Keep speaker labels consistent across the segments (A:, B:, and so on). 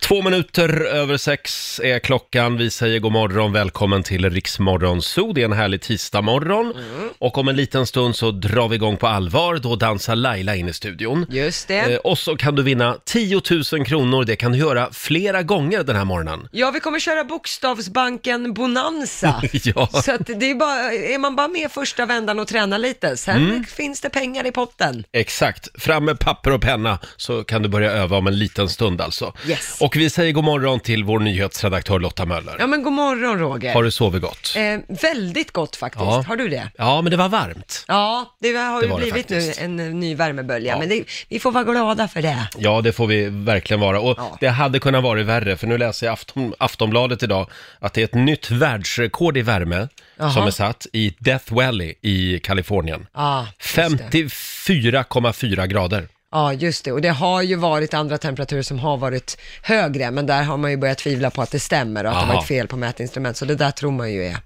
A: Två minuter över sex är klockan. Vi säger god morgon, välkommen till Riksmorgon Zoo. Det är en härlig tisdagmorgon.
B: Mm.
A: Och om en liten stund så drar vi igång på allvar. Då dansar Laila in i studion.
B: Just
A: Eh,
B: det.
A: och så kan du vinna 10 000 kronor. Det kan du göra flera gånger den här morgonen.
B: Ja, vi kommer köra bokstavsbanken Bonanza.
A: Ja.
B: Så att det är, bara, är man bara med första vändan och tränar lite, sen
A: Mm.
B: finns det pengar i potten.
A: Exakt, fram med papper och penna så kan du börja öva om en liten stund alltså.
B: Yes.
A: Och vi säger god morgon till vår nyhetsredaktör Lotta Möller.
B: Ja, men god morgon Roger.
A: Har du sovit gott?
B: eh, väldigt gott faktiskt.
A: Ja.
B: Har du det?
A: Ja, men det var varmt.
B: Ja, det har
A: Det
B: ju
A: var det
B: blivit
A: faktiskt.
B: nu en eh, ny värmebölja,
A: Ja.
B: men det, vi får vara glada för det.
A: Ja, det får vi verkligen vara. Och
B: Ja.
A: det hade kunnat vara värre, för nu läser jag Afton, Aftonbladet idag att det är ett nytt världsrekord i värme
B: Jaha.
A: som är satt i Death Valley i Kalifornien.
B: Ja, just det.
A: 54,4 grader.
B: Ja, just det. Och det har ju varit andra temperaturer som har varit högre, men där har man ju börjat tvivla på att det stämmer och att det
A: Aha.
B: varit fel på mätinstrument. Så det där tror man ju är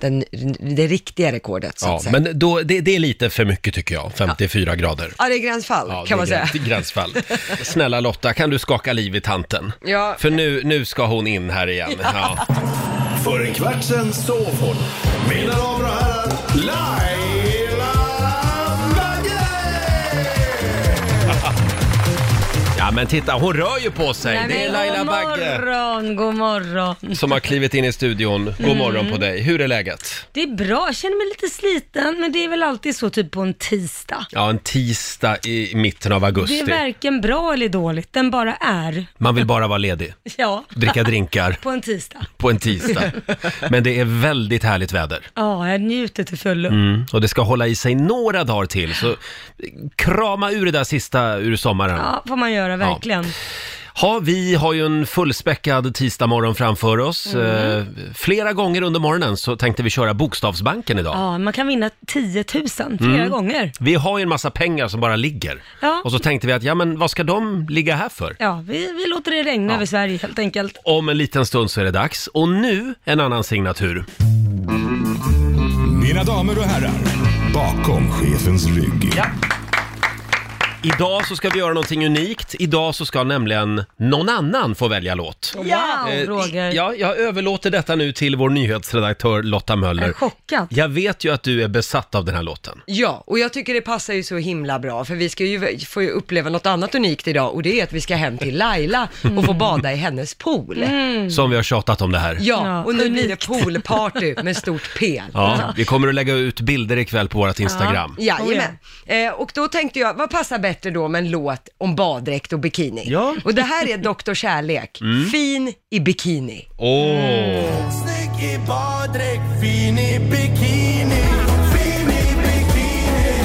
B: den, det riktiga rekordet, så
A: Mm. Ja,
B: att säga.
A: men då, det, det är lite för mycket tycker jag, 54 grader.
B: Ja, det är gränsfall,
A: Ja,
B: kan man
A: det är
B: säga.
A: grä- Gränsfall. Snälla Lotta, kan du skaka liv i tanten?
B: Ja.
A: För nu, nu ska hon in här igen. Ja.
C: För en kvart sen sov hon. Mina damer och herrar, Laila Bagge!
A: ja, men titta, hon rör ju på sig.
D: Nej,
A: det är
D: men
A: Laila
D: god
A: Bagge
D: morgon, god morgon.
A: som har klivit in i studion.
D: Mm.
A: God morgon på dig. Hur är läget?
D: Det är bra, jag känner mig lite sliten, men det är väl alltid så typ på en tisdag.
A: Ja, en tisdag i mitten av
D: Det är
A: augusti.
D: varken bra eller dåligt, den bara är.
A: Man vill bara vara ledig,
D: Ja,
A: dricka drinkar
D: på en tisdag.
A: på en tisdag. Men det är väldigt härligt väder.
D: Ja, jag njuter till fullo.
A: Mm. Och det ska hålla i sig några dagar till, så krama ur det där sista ur sommaren.
D: Ja, får man göra verkligen.
A: Ja, vi har ju en fullspäckad tisdagmorgon framför oss.
D: Mm.
A: Eh, flera gånger under morgonen så tänkte vi köra Bokstavsbanken idag.
D: Ja, man kan vinna 10 000 flera gånger.
A: Vi har ju en massa pengar som bara ligger.
D: Ja.
A: Mm. Och så tänkte vi att, ja men vad ska de ligga här för?
D: Ja, vi, vi låter det regna över Sverige helt enkelt.
A: Om en liten stund så är det dags. Och nu en annan signatur.
C: Mina damer och herrar, bakom chefens rygg.
A: Idag så ska vi göra någonting unikt. Idag så ska nämligen någon annan få välja låt.
D: Ja, wow,
A: Eh,
D: Roger.
A: Ja, jag överlåter detta nu till vår nyhetsredaktör Lotta
D: Jag
A: Möller.
D: är chockad.
A: Jag vet ju att du är besatt av den här låten.
B: Ja, och jag tycker det passar ju så himla bra, för vi ska ju få ju uppleva något annat unikt idag, och det är att vi ska hem till Laila och
D: Mm.
B: få bada i hennes pool.
A: Som vi har tjatat om det här.
B: Ja,
D: Ja,
B: och nu blir
D: unikt.
B: det poolparty med stort P.
A: Ja, vi kommer att lägga ut bilder ikväll på vårt Instagram.
B: Jajamän. Eh, och då tänkte jag, vad passar bättre då med en låt om baddräkt och bikini?
A: Ja.
B: Och det här är Doktor Kärlek, fin i bikini.
A: Mm. Åh!
D: Mm.
C: Snygg i baddräkt, fin i bikini. Fin i bikini.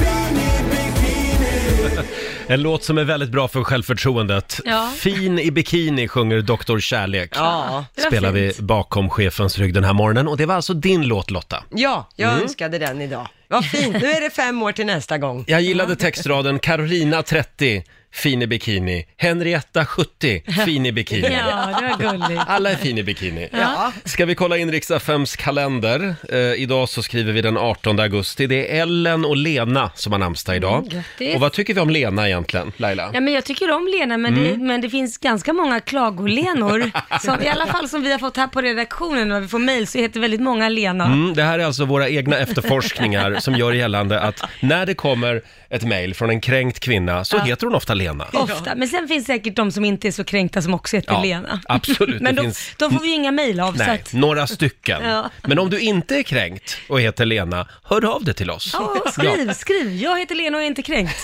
C: Fin i bikini.
A: En låt som är väldigt bra för självförtroendet.
D: Ja.
A: Fin i bikini sjunger Dr. Kärlek.
B: Ja,
D: Det var
A: Spelar vi
D: fint.
A: bakom chefens rygg den här morgonen. Och det var alltså din låt Lotta.
B: ja jag
A: Mm.
B: önskade den idag. Vad fint, nu är det fem år till nästa gång.
A: Jag gillade textraden Carolina 30, fin i bikini. Henrietta 70, fin i bikini.
D: Ja, det var gulligt.
A: Alla är fin i bikini.
B: Ja.
A: Ska vi kolla in Riksaffems kalender? Eh, idag så skriver vi den 18 augusti. Det är Ellen och Lena som har namnsdag idag.
D: Mm, grattis.
A: och vad tycker vi om Lena egentligen, Laila?
D: Ja, men jag tycker om Lena, men,
A: Mm.
D: det, men det finns ganska många klagolenor. som, I alla fall som vi har fått här på redaktionen, när vi får mejl, så heter väldigt många Lena.
A: Mm, det här är alltså våra egna efterforskningar som gör gällande att när det kommer ett mejl från en kränkt kvinna så heter hon ofta Lena.
D: Ofta. Men sen finns säkert de som inte är så kränkta som också heter
A: Ja,
D: Lena.
A: absolut,
D: men
A: det
D: de,
A: finns-
D: de får vi ju inga mejl av. Så
A: Nej,
D: att,
A: några stycken.
D: Ja.
A: Men om du inte är kränkt och heter Lena, hör av dig till oss.
D: Ja, skriv, skriv. Jag heter Lena och är inte kränkt.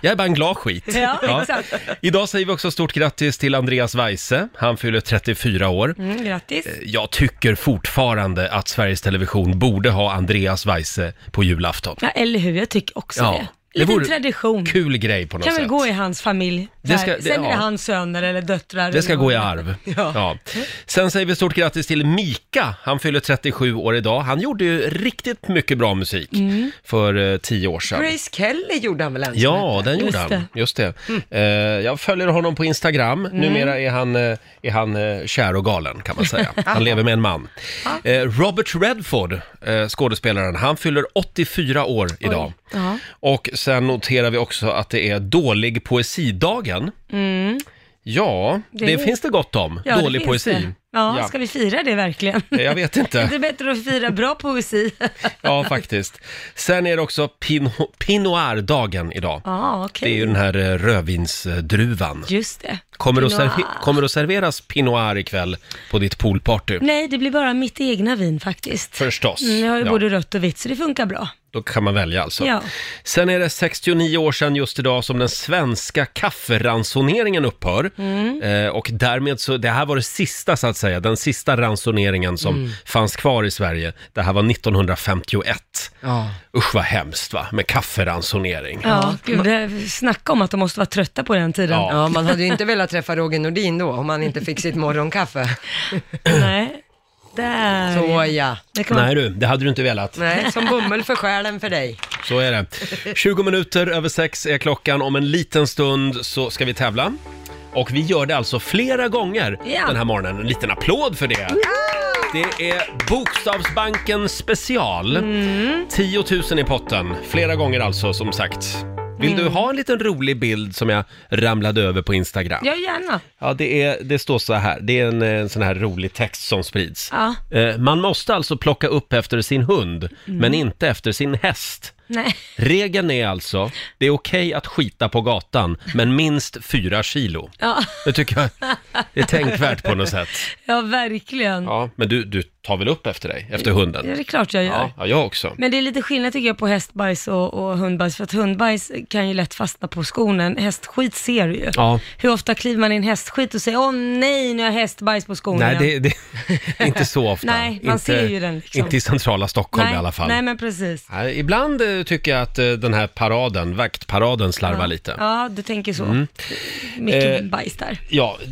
A: Jag är bara en glad skit.
D: Ja, exakt.
A: Idag säger vi också stort grattis till Andreas Weise. Han fyller 34 år. Eh,
D: Mm, grattis.
A: Jag tycker fortfarande att Sveriges Television borde ha Andreas Weise på julafton.
D: Ja, eller hur? Jag tycker också
A: Ja,
D: det. Liten
A: vore
D: tradition.
A: Kul grej på något
D: Kan
A: sätt.
D: väl gå i hans familj.
A: Det ska-
D: Där.
A: det-
D: Sen är
A: ja.
D: det hans söner eller döttrar.
A: Det ska
D: eller
A: gå i
D: vad.
A: arv. Ja.
B: Ja.
A: Sen säger vi stort grattis till Mika. Han fyller 37 år idag. Han gjorde ju riktigt mycket bra musik
D: Mm.
A: för eh, tio år sedan.
B: Grace Kelly gjorde han väl ens?
A: Ja, den gjorde
D: Just
A: han.
D: det. Mm.
A: Just det. Eh, jag följer honom på Instagram. Numera är han, eh, är han eh, kär och galen kan man säga. Han lever med en man. Eh, Robert Redford, eh, skådespelaren, han fyller 84 år idag.
D: Ja.
A: Och sen noterar vi också att det är dålig poesidagen.
D: Mm.
A: Ja, det,
D: Det-
A: finns det gott om.
D: Ja, det
A: dålig
D: finns
A: poesi.
D: det. Ja,
A: Ja.
D: ska vi fira det verkligen?
A: Eh, Jag vet
D: Det
A: inte.
D: är bättre att fira bra poesi.
A: Ja, faktiskt. Sen är det också Pino- Pinoir-dagen idag.
D: Ja,
A: Det är
D: okej.
A: ju den här eh, rödvinsdruvan.
D: Just det.
A: Kommer att,
D: Pinot-
A: serve- kommer att serveras Pinot Noir ikväll på ditt poolparty?
D: Nej, det blir bara mitt egna vin faktiskt.
A: Förstås.
D: Mm, jag har ju
A: Ja,
D: både rött och vitt, så det funkar bra.
A: Då kan man välja alltså.
D: Ja.
A: Sen är det 69 år sedan just idag som den svenska kafferansoneringen upphör.
D: Mm.
A: Eh, och därmed så, det här var det sista så att säga, den sista ransoneringen som
D: Mm.
A: fanns kvar i Sverige. Det här var 1951.
B: Ja.
A: Usch vad hemskt va, med kafferansonering.
D: Ja,
A: Mm.
D: gud, det- Eh, snacka om att de måste vara trötta på den tiden.
A: Ja.
B: Ja, man hade ju inte velat träffa Roger Nordin då, om han inte fick sitt morgonkaffe.
D: Nej, där.
B: Så ja.
D: Det kan
A: Nej du, det hade du inte velat.
B: Nej, som bomull för själen för dig.
A: Så är det. 20 minuter över sex är klockan. Om en liten stund så ska vi tävla. Och vi gör det alltså flera gånger
D: Ja.
A: den här morgonen. En liten applåd för det. Det är Bokstavsbanken special.
D: Mm.
A: 10 000 i potten, flera gånger alltså som sagt. Vill
D: Mm.
A: du ha en liten rolig bild som jag ramlade över på Instagram?
D: Ja, gärna.
A: Ja, det, är, det står så här. Det är en, eh, en sån här rolig text som sprids.
D: Ja.
A: Eh, Man måste alltså plocka upp efter sin hund,
D: Mm.
A: men inte efter sin häst.
D: Nej.
A: Regeln är alltså, det är okej att skita på gatan, men minst fyra kilo.
D: Ja,
A: Det tycker jag är tänkvärt på något sätt.
D: ja verkligen. Ja.
A: Ja, men du, du tar väl upp efter dig, efter hunden?
D: Mm. Det är klart jag gör.
A: Ja, ja jag också.
D: Men det är lite skillnad tycker jag på hästbajs och, och hundbajs, för att hundbajs kan ju lätt fastna på skonen. Hästskit ser du ju.
A: Ja.
D: Hur ofta kliver man in hästskit och säger åh nej, nu har jag hästbajs på skonen.
A: Nej, det, det inte så ofta.
D: Nej, man
A: inte,
D: ser ju den liksom.
A: Inte i centrala Stockholm
D: nej,
A: i alla fall.
D: Nej, men precis.
A: Nej, Ibland eh, tycker jag att eh, den här paraden, vaktparaden slarvar lite. Ja. Mm.
D: Ja, du tänker så. Mycket
A: Eh,
D: bajs där.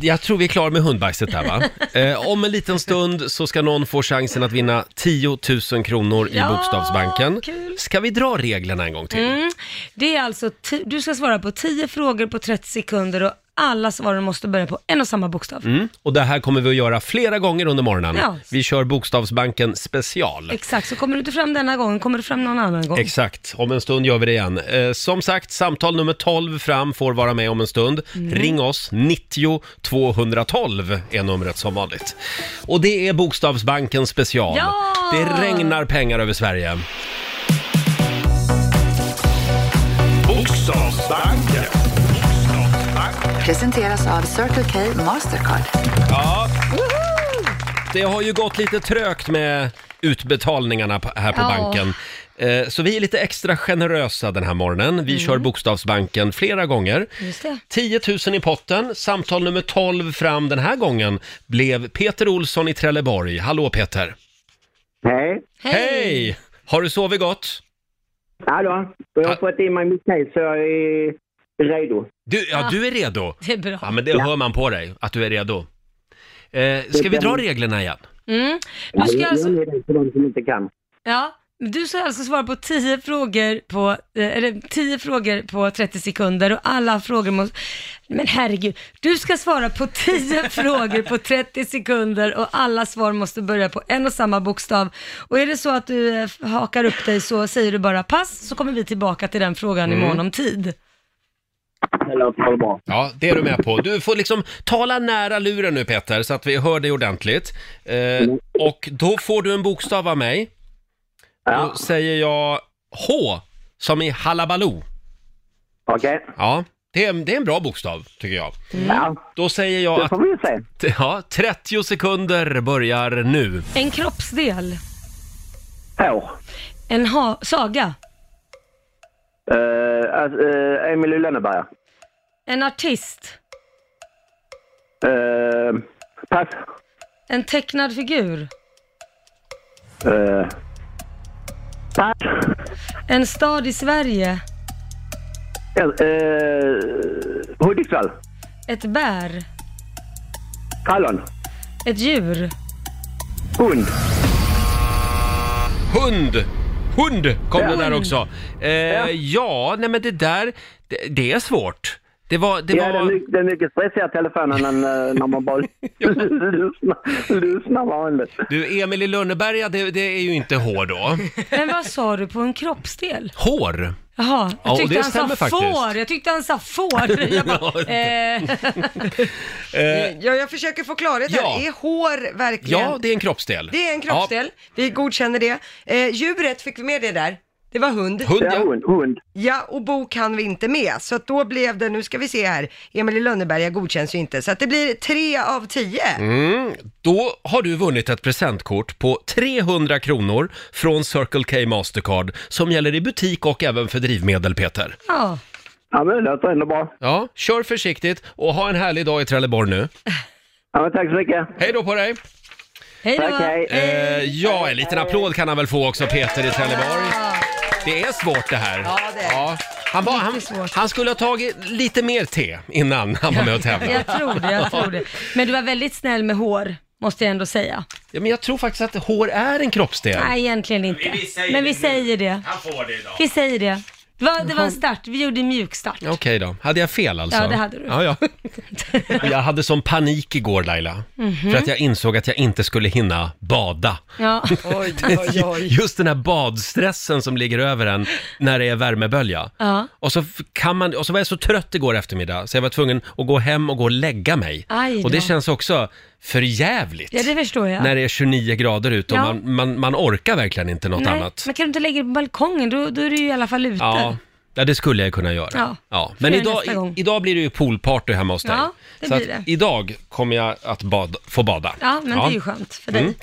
A: jag tror vi är klara med hundbajset där va? eh, om en liten stund så ska någon få chansen att vinna 10 000 kronor i
D: Ja,
A: Bokstavsbanken.
D: kul.
A: Ska vi dra reglerna en gång till?
D: Mm. Det är alltså, ti- du ska svara på 10 frågor på 30 sekunder och alla svaren måste börja på en och samma bokstav.
A: Mm. Och det här kommer vi att göra flera gånger under morgonen.
D: Ja.
A: Vi kör Bokstavsbanken special.
D: Exakt, så kommer du inte fram denna gången, kommer du fram någon annan gång.
A: Exakt, om en stund gör vi det igen. Eh, som sagt, samtal nummer 12 fram får vara med om en stund. Ring oss, 90 212 är numret som vanligt. Och det är Bokstavsbanken special.
D: Ja!
A: Det regnar pengar över Sverige.
C: Bokstavsbanken.
E: Presenteras av Circle K Mastercard.
A: Det har ju gått lite trögt med utbetalningarna på- här på
D: Ja.
A: banken. Eh, Så vi är lite extra generösa den här morgonen. Vi kör Bokstavsbanken flera gånger.
D: Mm. Just det.
A: 10 000 i potten. Samtal nummer 12 fram den här gången blev Peter Olsson i Trelleborg. Hallå Peter!
F: Hej!
A: Hej! Har du sovit gott?
F: Hallå! Jag har
A: Ah.
F: fått in mig mitt case så jag är redo.
A: Du, ja, du är redo.
D: Det är bra.
A: Ja, men det hör man på dig, att du är redo. Eh, ska vi dra reglerna igen?
D: Mm. Du
F: Ja,
D: ska
F: jag-
D: alltså,
F: Jag är redo för de som inte kan.
D: ja, du ska alltså svara på 10 frågor på, eh, eller 10 frågor på 30 sekunder och alla frågor måste, men herregud, du ska svara på 10 frågor på 30 sekunder och alla svar måste börja på en och samma bokstav. Och är det så att du eh, hakar upp dig så säger du bara pass så kommer vi tillbaka till den frågan i mån om tid.
F: Det låter väl bra.
A: Ja, det är du med på. Du får liksom tala nära luren nu Peter, så att vi hör dig ordentligt. Eh,
F: Mm.
A: och då får du en bokstav av mig.
F: Ja,
A: Då säger jag H, som i Hallabaloo.
F: okej.
A: Ja, det är, det är en bra bokstav, tycker jag.
F: Ja,
A: Då säger jag
F: det
A: att
F: får vi se.
A: ja, 30 sekunder börjar nu.
D: En kroppsdel,
F: Hår.
D: en ha- saga,
F: Uh, uh, Emil i Lönneberga.
D: en artist,
F: Eh, pass.
D: en tecknad figur,
F: Eh, pass.
D: en stad i Sverige,
F: Eh, eh, Hudiksvall.
D: Ett bär.
F: Hallon.
D: Ett djur.
F: Hund.
A: Hund! Hund kom det där
D: Hund.
A: också. Eh, ja. nej men det där, det, det är svårt. Det var, det
F: Ja, det är,
A: var...
F: mycket, det är mycket stressigare telefonen än eh, när man bara lyssnar- lyssnar vanligt.
A: Du, Emil i Lönneberga, det, det är ju inte hår då.
D: Men vad sa du på en kroppsdel?
A: Hår!
D: Jaha,
A: Ja, och
D: jag tyckte
A: det
D: han
A: stämmer
D: sa
A: faktiskt.
D: får. Jag tyckte han sa får. Jag bara,
A: Ja.
D: eh,
B: Ja, jag försöker få klarhet
A: Ja.
B: här. Är hår verkligen...
A: Eh, Ja, det är en kroppsdel.
B: Det är en kroppsdel. Vi godkänner det. Eh, djuret fick vi med det där. Det var hund.
A: Ja, hund,
F: Ja,
A: ja.
F: hund. hund.
B: Ja, och bo kan vi inte med. Så att då blev det, nu ska vi se här, Emil i Lönneberga godkänns ju inte. Så att det blir tre av tio.
A: Mm. Då har du vunnit ett presentkort på 300 kronor från Circle K Mastercard som gäller i butik och även för drivmedel, Peter.
D: ja.
F: Ja, men det låter ändå bra.
A: Ja, kör försiktigt och ha en härlig dag i Trelleborg nu.
F: Ja, men tack så mycket.
A: Hej då på dig!
D: Hej då.
F: Tack, hej.
A: Eh, ja, en liten applåd kan han väl få också, Peter i Trelleborg. Det är svårt det här.
B: Ja, det är det.
A: Han, var, han,
D: Riktigt svårt.
A: han skulle ha tagit lite mer te innan han var med och tävlade.
D: Jag tror det, jag tror det. Men du var väldigt snäll med hår, måste jag ändå säga.
A: Ja, men jag tror faktiskt att hår är en kroppsdel.
D: Nej, egentligen inte.
G: Vi säger
D: Men vi
G: det nu.
D: säger det.
G: Han får det idag.
D: Vi säger det. Det var, det var en start, vi gjorde en mjuk start.
A: Okej då. Hade jag fel alltså?
D: Ja, det hade du.
A: Ja, ja. Jag hade sån panik igår Laila,
D: Mhm.
A: för att jag insåg att jag inte skulle hinna bada.
D: Ja.
B: Oj, oj, oj.
A: Just den här badstressen som ligger över en när det är värmebölja.
D: Ja.
A: Och, så f- kan man, och så var jag så trött igår eftermiddag så jag var tvungen att gå hem och gå och lägga mig.
D: Aj då.
A: och det känns också för jävligt
D: ja, det förstår jag.
A: när det är 29 grader ute och
D: Ja.
A: man, man, man orkar verkligen inte något
D: Nej,
A: annat.
D: Men kan du inte lägga det på balkongen? Då, då är du ju i alla fall ute.
A: Ja. Ja, det skulle jag kunna göra.
D: Ja. Får
A: Men
D: jag
A: idag,
D: nästa gång.
A: i, idag blir det ju poolparty hemma hos dig.
D: Ja, det
A: så
D: blir
A: att
D: det.
A: idag kommer jag att bad, få bada. Mm.
D: Ja, men det är ju skönt för dig.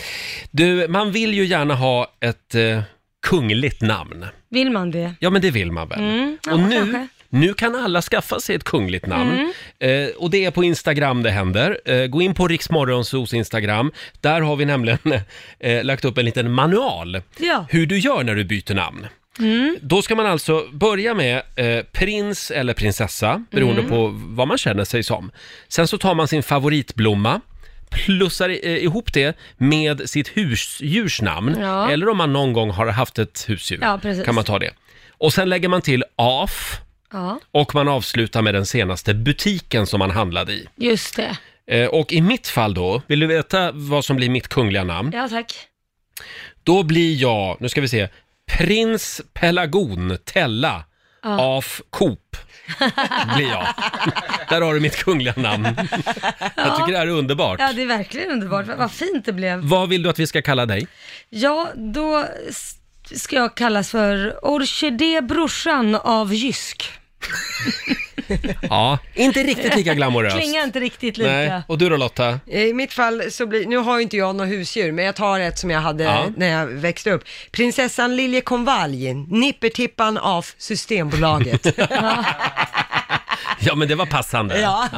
A: Du, man vill ju gärna ha ett eh, kungligt namn.
D: Vill man det?
A: Ja, men det vill man väl?
D: Mm. ja,
A: och nu,
D: kanske. Mm.
A: nu kan alla skaffa sig ett kungligt namn. Eh, och det är på Instagram det händer. Eh, gå in på Riksmorgonsos Instagram. Där har vi nämligen eh, lagt upp en liten manual.
D: Ja.
A: Hur du gör när du byter namn.
D: Mm.
A: Då ska man alltså börja med eh, prins eller prinsessa, beroende
D: Mm.
A: på vad man känner sig som. Sen så tar man sin favoritblomma, plussar i- eh, ihop det med sitt husdjurs namn.
D: Ja.
A: Eller om man någon gång har haft ett husdjur
D: Ja, precis.
A: kan man ta det. Och sen lägger man till AF
D: Ja,
A: och man avslutar med den senaste butiken som man handlade i.
D: just det.
A: Eh, och i mitt fall då, vill du veta vad som blir mitt kungliga namn?
D: Ja, tack.
A: Då blir jag, nu ska vi se, Prins Pelagon Tella af Coop. Blir jag. Där har du mitt kungliga namn. Jag tycker det här är underbart.
D: Ja, det är verkligen underbart. Vad, vad fint det blev.
A: Vad vill du att vi ska kalla dig?
D: Ja, då s- ska jag kallas för orkidébrorsan av Jysk.
A: Ja, inte riktigt lika glamoröst.
D: Klingar inte riktigt lika.
A: Nej. Och du då Lotta?
B: I mitt fall så blir, nu har ju inte jag några husdjur, men jag tar ett som jag hade
A: Ja.
B: när jag växte upp. Prinsessan Liljekonvalj, nippertippan av Systembolaget.
A: Ja, men det var passande.
B: Ja.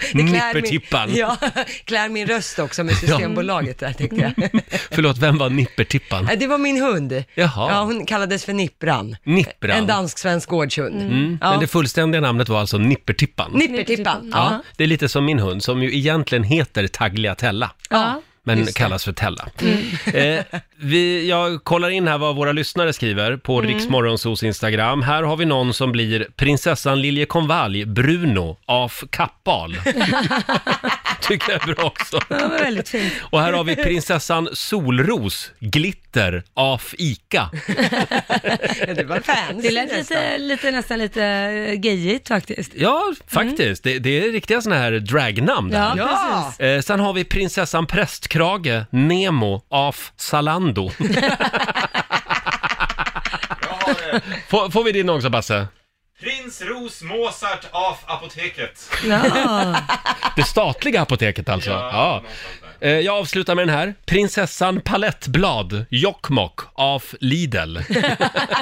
B: Det klär
A: Nippertippan.
B: Min, ja, klär min röst också med Systembolaget där tänkte
A: Mm.
B: jag.
A: Förlåt, vem var nippertippan?
B: Nej, Det var min hund.
A: Jaha.
B: Ja, hon kallades för Nippran.
A: Nippran.
B: En dansk-svensk gårdshund.
A: Mm. Men
B: Mm. Ja.
A: det fullständiga namnet var alltså nippertippan.
B: Nippertippan.
A: ja. Det är lite som min hund som ju egentligen heter Tagliatella.
D: Ja.
A: Men kallas för Tella. Eh, vi, jag kollar in här vad våra lyssnare skriver på mm. Riksmorgonsos Instagram. Här har vi någon som blir prinsessan Liljekonvalj Bruno af Kappal. Tycker jag är bra också.
D: Ja, det var väldigt fint.
A: Och här har vi prinsessan Solros Glitter af Ica.
B: Ja, det var fancy.
D: Det lät lite, lite, nästan lite eh, gayigt faktiskt.
A: Ja, faktiskt. Det, det är riktiga sådana här dragnamn. där.
D: Mm. Ja,
B: Ja.
D: precis.
A: Eh, sen har vi prinsessan Prästkrage, Nemo, af Zalando.
G: Jag har det.
A: Får, får vi din också, Basse?
G: Prins Ros Mozart av Apoteket.
D: Ja.
A: Det statliga apoteket alltså? Ja.
G: någonstans där.
A: Eh, Jag avslutar med den här. Prinsessan Palettblad, Jokkmokk, av Lidl.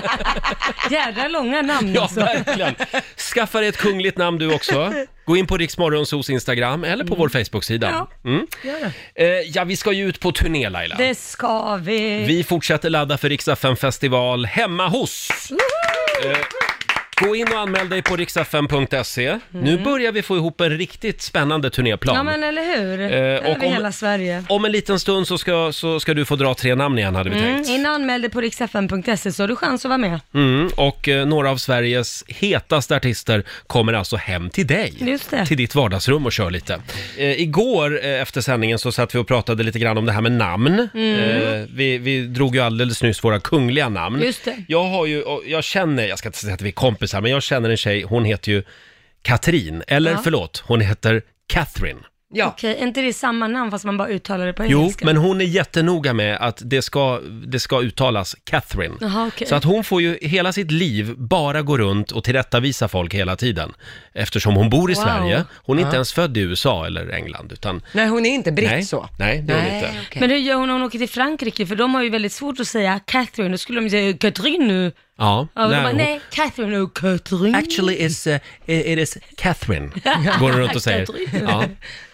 D: Jädra långa namn
A: Ja,
D: alltså.
A: verkligen. Skaffa dig ett kungligt namn du också. Gå in på Riksmorgonsos Instagram eller på vår Facebook-sida. Mm.
D: Gör det.
A: Eh, Ja, vi ska ju ut på turné, Laila.
D: det ska vi.
A: Vi fortsätter ladda för Riksaffen festival hemma hos. Eh, Gå in och anmäl dig på riksfm.se. Nu börjar vi få ihop en riktigt spännande turnéplan.
D: Mm. Ja men eller hur? Över
A: Eh, och om-
D: hela Sverige.
A: Om en liten stund så ska, så ska du få dra tre namn igen hade vi
D: Mm,
A: tänkt.
D: in och anmäl dig på riksfn.se så har du chans att vara med.
A: Mm, och eh, några av Sveriges hetaste artister kommer alltså hem till dig.
D: Just det.
A: Till ditt vardagsrum och kör lite. Eh, igår eh, efter sändningen så satt vi och pratade lite grann om det här med namn.
D: Mm.
A: Eh, vi, vi drog ju alldeles nyss våra kungliga namn.
D: Just det.
A: Jag har ju, och jag känner, jag ska inte säga att vi är kompisar, men jag känner en tjej, hon heter ju Katrin. Eller
D: Ja.
A: förlåt, hon heter Catherine.
B: Ja.
D: Okej, är inte det samma namn fast man bara uttalar det på
A: Jo,
D: engelska?
A: men hon är jättenoga med att det ska, det ska uttalas Catherine.
D: Jaha, okej.
A: Så att hon får ju hela sitt liv bara gå runt och tillrättavisa folk hela tiden. Eftersom hon bor i
D: Wow.
A: Sverige. Hon är inte ens född i USA eller England. Utan,
B: Nej, hon är inte britt
A: nej,
B: så.
A: nej, det är hon inte.
B: okej.
D: Men hur gör hon när hon åker till Frankrike? För de har ju väldigt svårt att säga Catherine, då skulle de ju säga Catherine nu.
A: Ja,
D: Ja, nej, de bara,
A: hon-
D: nej, Catherine och Catherine.
A: Actually is, uh, it is Catherine, går hon runt och säger.
D: Catherine.
A: Ja.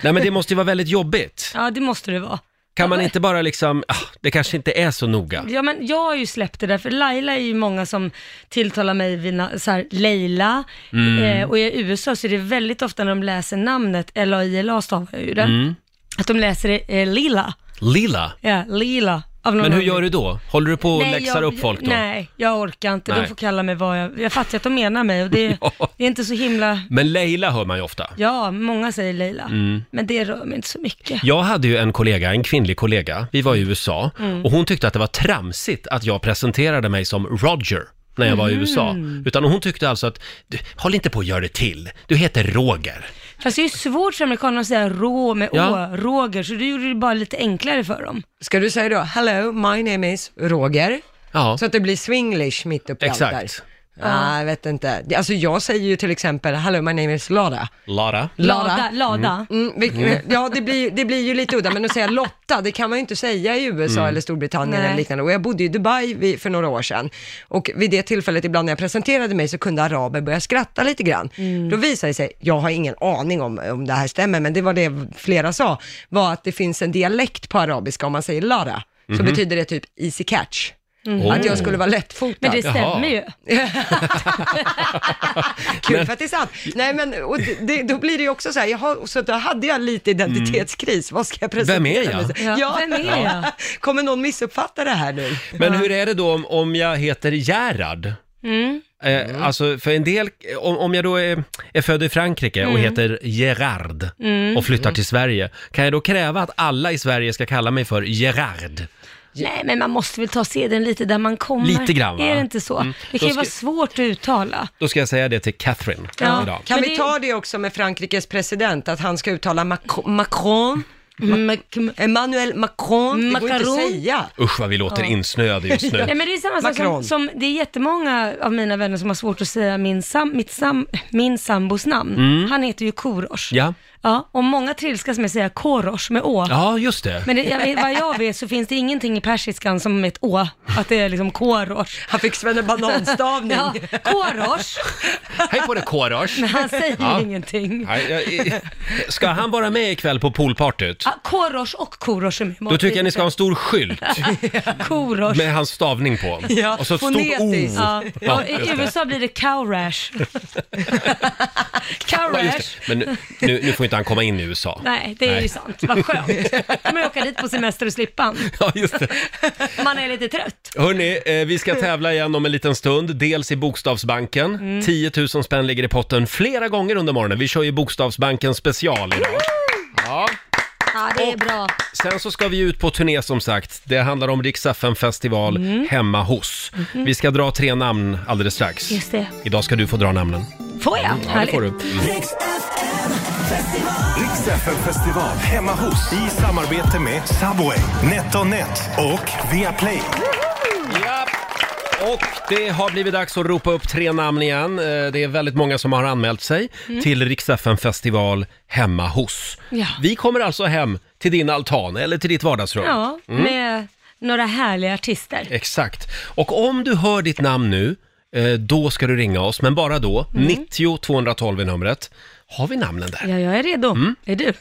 A: Nej men det måste ju vara väldigt jobbigt.
D: Ja, det måste det vara.
A: Kan man inte bara liksom, ah, det kanske inte är så noga.
D: Ja, men jag har ju släppt det där, för Laila är ju många som tilltalar mig vid na- så här, Leila.
A: Mm.
D: Eh, och i USA så är det väldigt ofta när de läser namnet, L-A-I-L-A stavar jag ju det,
A: Mm.
D: att de läser det eh, Lila.
A: Lila,
D: Ja, Lila. Av någon
A: men hur
D: anledning.
A: gör du då? Håller du på och
D: Nej,
A: läxar
D: jag-
A: upp folk då?
D: Nej, jag orkar inte.
A: Nej.
D: De får kalla mig vad jag... Jag fattar att de menar mig och det,
A: Ja.
D: det är inte så himla...
A: Men Leila hör man ju ofta.
D: Ja, många säger Leila,
A: Mm.
D: men det rör mig inte så mycket.
A: Jag hade ju en kollega, en kvinnlig kollega, vi var i USA
D: Mm.
A: och hon tyckte att det var tramsigt att jag presenterade mig som Roger när jag var i USA.
D: Mm.
A: Utan hon tyckte alltså att, du, håll inte på att göra det till, du heter Roger.
D: Fast det är ju svårt för amerikaner att säga rå med å,
A: Ja.
D: Roger, så du gjorde det bara lite enklare för dem.
B: Ska du säga då, hello, my name is Roger?
A: Ja,
B: Så att det blir swinglish mitt uppe i allt där.
A: Exakt.
B: Ja, jag vet inte. Det- Alltså jag säger ju till exempel, hello, my name is Lara.
A: Lara.
D: Lada. Lada.
B: Mm, vil- Ja, det blir, det blir ju lite udda, men att säga Lotta, det kan man ju inte säga i USA eller Storbritannien
D: Nej.
B: eller liknande. Och jag bodde i Dubai vid, för några år sedan och vid det tillfället ibland när jag presenterade mig så kunde araber börja skratta lite grann.
A: Mm.
H: Mm.
B: Då visade det sig, jag har ingen aning om, om det här stämmer, men det var det flera sa, var att det finns en dialekt på arabiska, om man säger Lara, så
A: Mhm.
B: betyder det typ easy catch. Att jag skulle vara lättfotad.
D: Men det
A: Mm. Oh. Jaha.
D: stämmer ju.
B: Kul för att det är sant. Nej men, och det- det, då blir det ju också så här, jaha, så då hade jag lite identitetskris, vad ska jag presentera
A: Mm. Vem är jag?
B: mig som?
D: Ja, vem är jag?
B: Kommer någon missuppfatta det här nu?
A: Men hur är det då om, om jag heter Gerhard?
D: Mm.
A: Eh, Alltså för en del, om, om jag då är, är född i Frankrike
D: Mm.
A: och heter Gerard och flyttar till Sverige, kan jag då kräva att alla i Sverige ska kalla mig för Gerard?
D: Nej, men man måste väl ta seden lite där man kommer.
A: Lite grann, va? Mm.
D: Är det inte så? Det
A: Då
D: kan ju
A: ska-
D: vara svårt att uttala.
A: Då ska jag säga det till Catherine
D: Ja.
A: idag.
B: Kan
D: Men
B: vi
D: det-
B: ta det också med Frankrikes president, att han ska uttala Mac- Macron,
D: Mm.
B: Emmanuel Macron, det går ju inte
D: Macaron.
B: att säga.
A: Usch vad vi låter insnöade just nu.
D: Nej men det är samma sak
B: Macron.
D: som, som, det är jättemånga av mina vänner som har svårt att säga min, sam, mitt sam, min sambos namn.
A: Mm.
D: Han heter ju Korosh.
A: Ja.
D: ja. Och många trilskas med att säga Korosh med Å.
A: Ja, just det.
D: Men det, jag, vet- vad jag vet så finns det ingenting i persiskan som med ett Å, att det är liksom Korosh.
B: Han fick svennebananstavning.
D: Ja, Korosh.
A: Hej på dig Korosh!
D: Men han säger
A: Ja.
D: ingenting.
A: Nej, jag- Ska han vara med ikväll på poolpartyt?
D: Ja, Ah, Korosh och Korosh är med.
A: Då tycker jag ni ska ha en stor skylt
D: Korosh.
A: med hans stavning på.
B: Ja,
A: Och så ett stort O.
B: fonetiskt.
D: Ja.
A: Ja,
D: och I USA blir det cowrash.
A: Ja, just
D: cowrash.
A: det. Men nu, nu, nu får inte han komma in i USA.
D: Nej, det är ju sant. Vad skönt. Kan man åka dit på semester och slippa han.
A: Ja, just det.
D: Man är lite trött.
A: Hörni, eh, vi ska tävla igen om en liten stund. Dels i Bokstavsbanken.
D: Mm.
A: 10 000 spänn ligger i potten flera gånger under morgonen. Vi kör ju Bokstavsbanken special idag.
D: Ja, det är bra.
A: Sen så ska vi ut på turné som sagt. Det handlar om Rix FM festival
D: Mm.
A: hemma hos.
D: Mm-hmm.
A: Vi ska dra tre namn alldeles strax.
D: Just det.
A: Idag ska du få dra namnen.
D: Får jag?
A: Ja, det får du. Mm.
C: Rix FM festival hemma hos i samarbete med Subway, NetOnNet och Viaplay.
A: Ja. Och det har blivit dags att ropa upp tre namn igen. Eh, Det är väldigt många som har anmält sig
D: Mm.
A: till Rix FM festival hemma hos.
D: Ja.
A: Vi kommer alltså hem till din altan eller till ditt vardagsrum.
D: Ja,
A: Mm.
D: med några härliga artister.
A: Exakt. Och om du hör ditt namn nu, eh, då ska du ringa oss, men bara då. 90 212 är numret. Har vi namnen där?
D: Ja, jag är redo.
A: Mm.
D: Är du?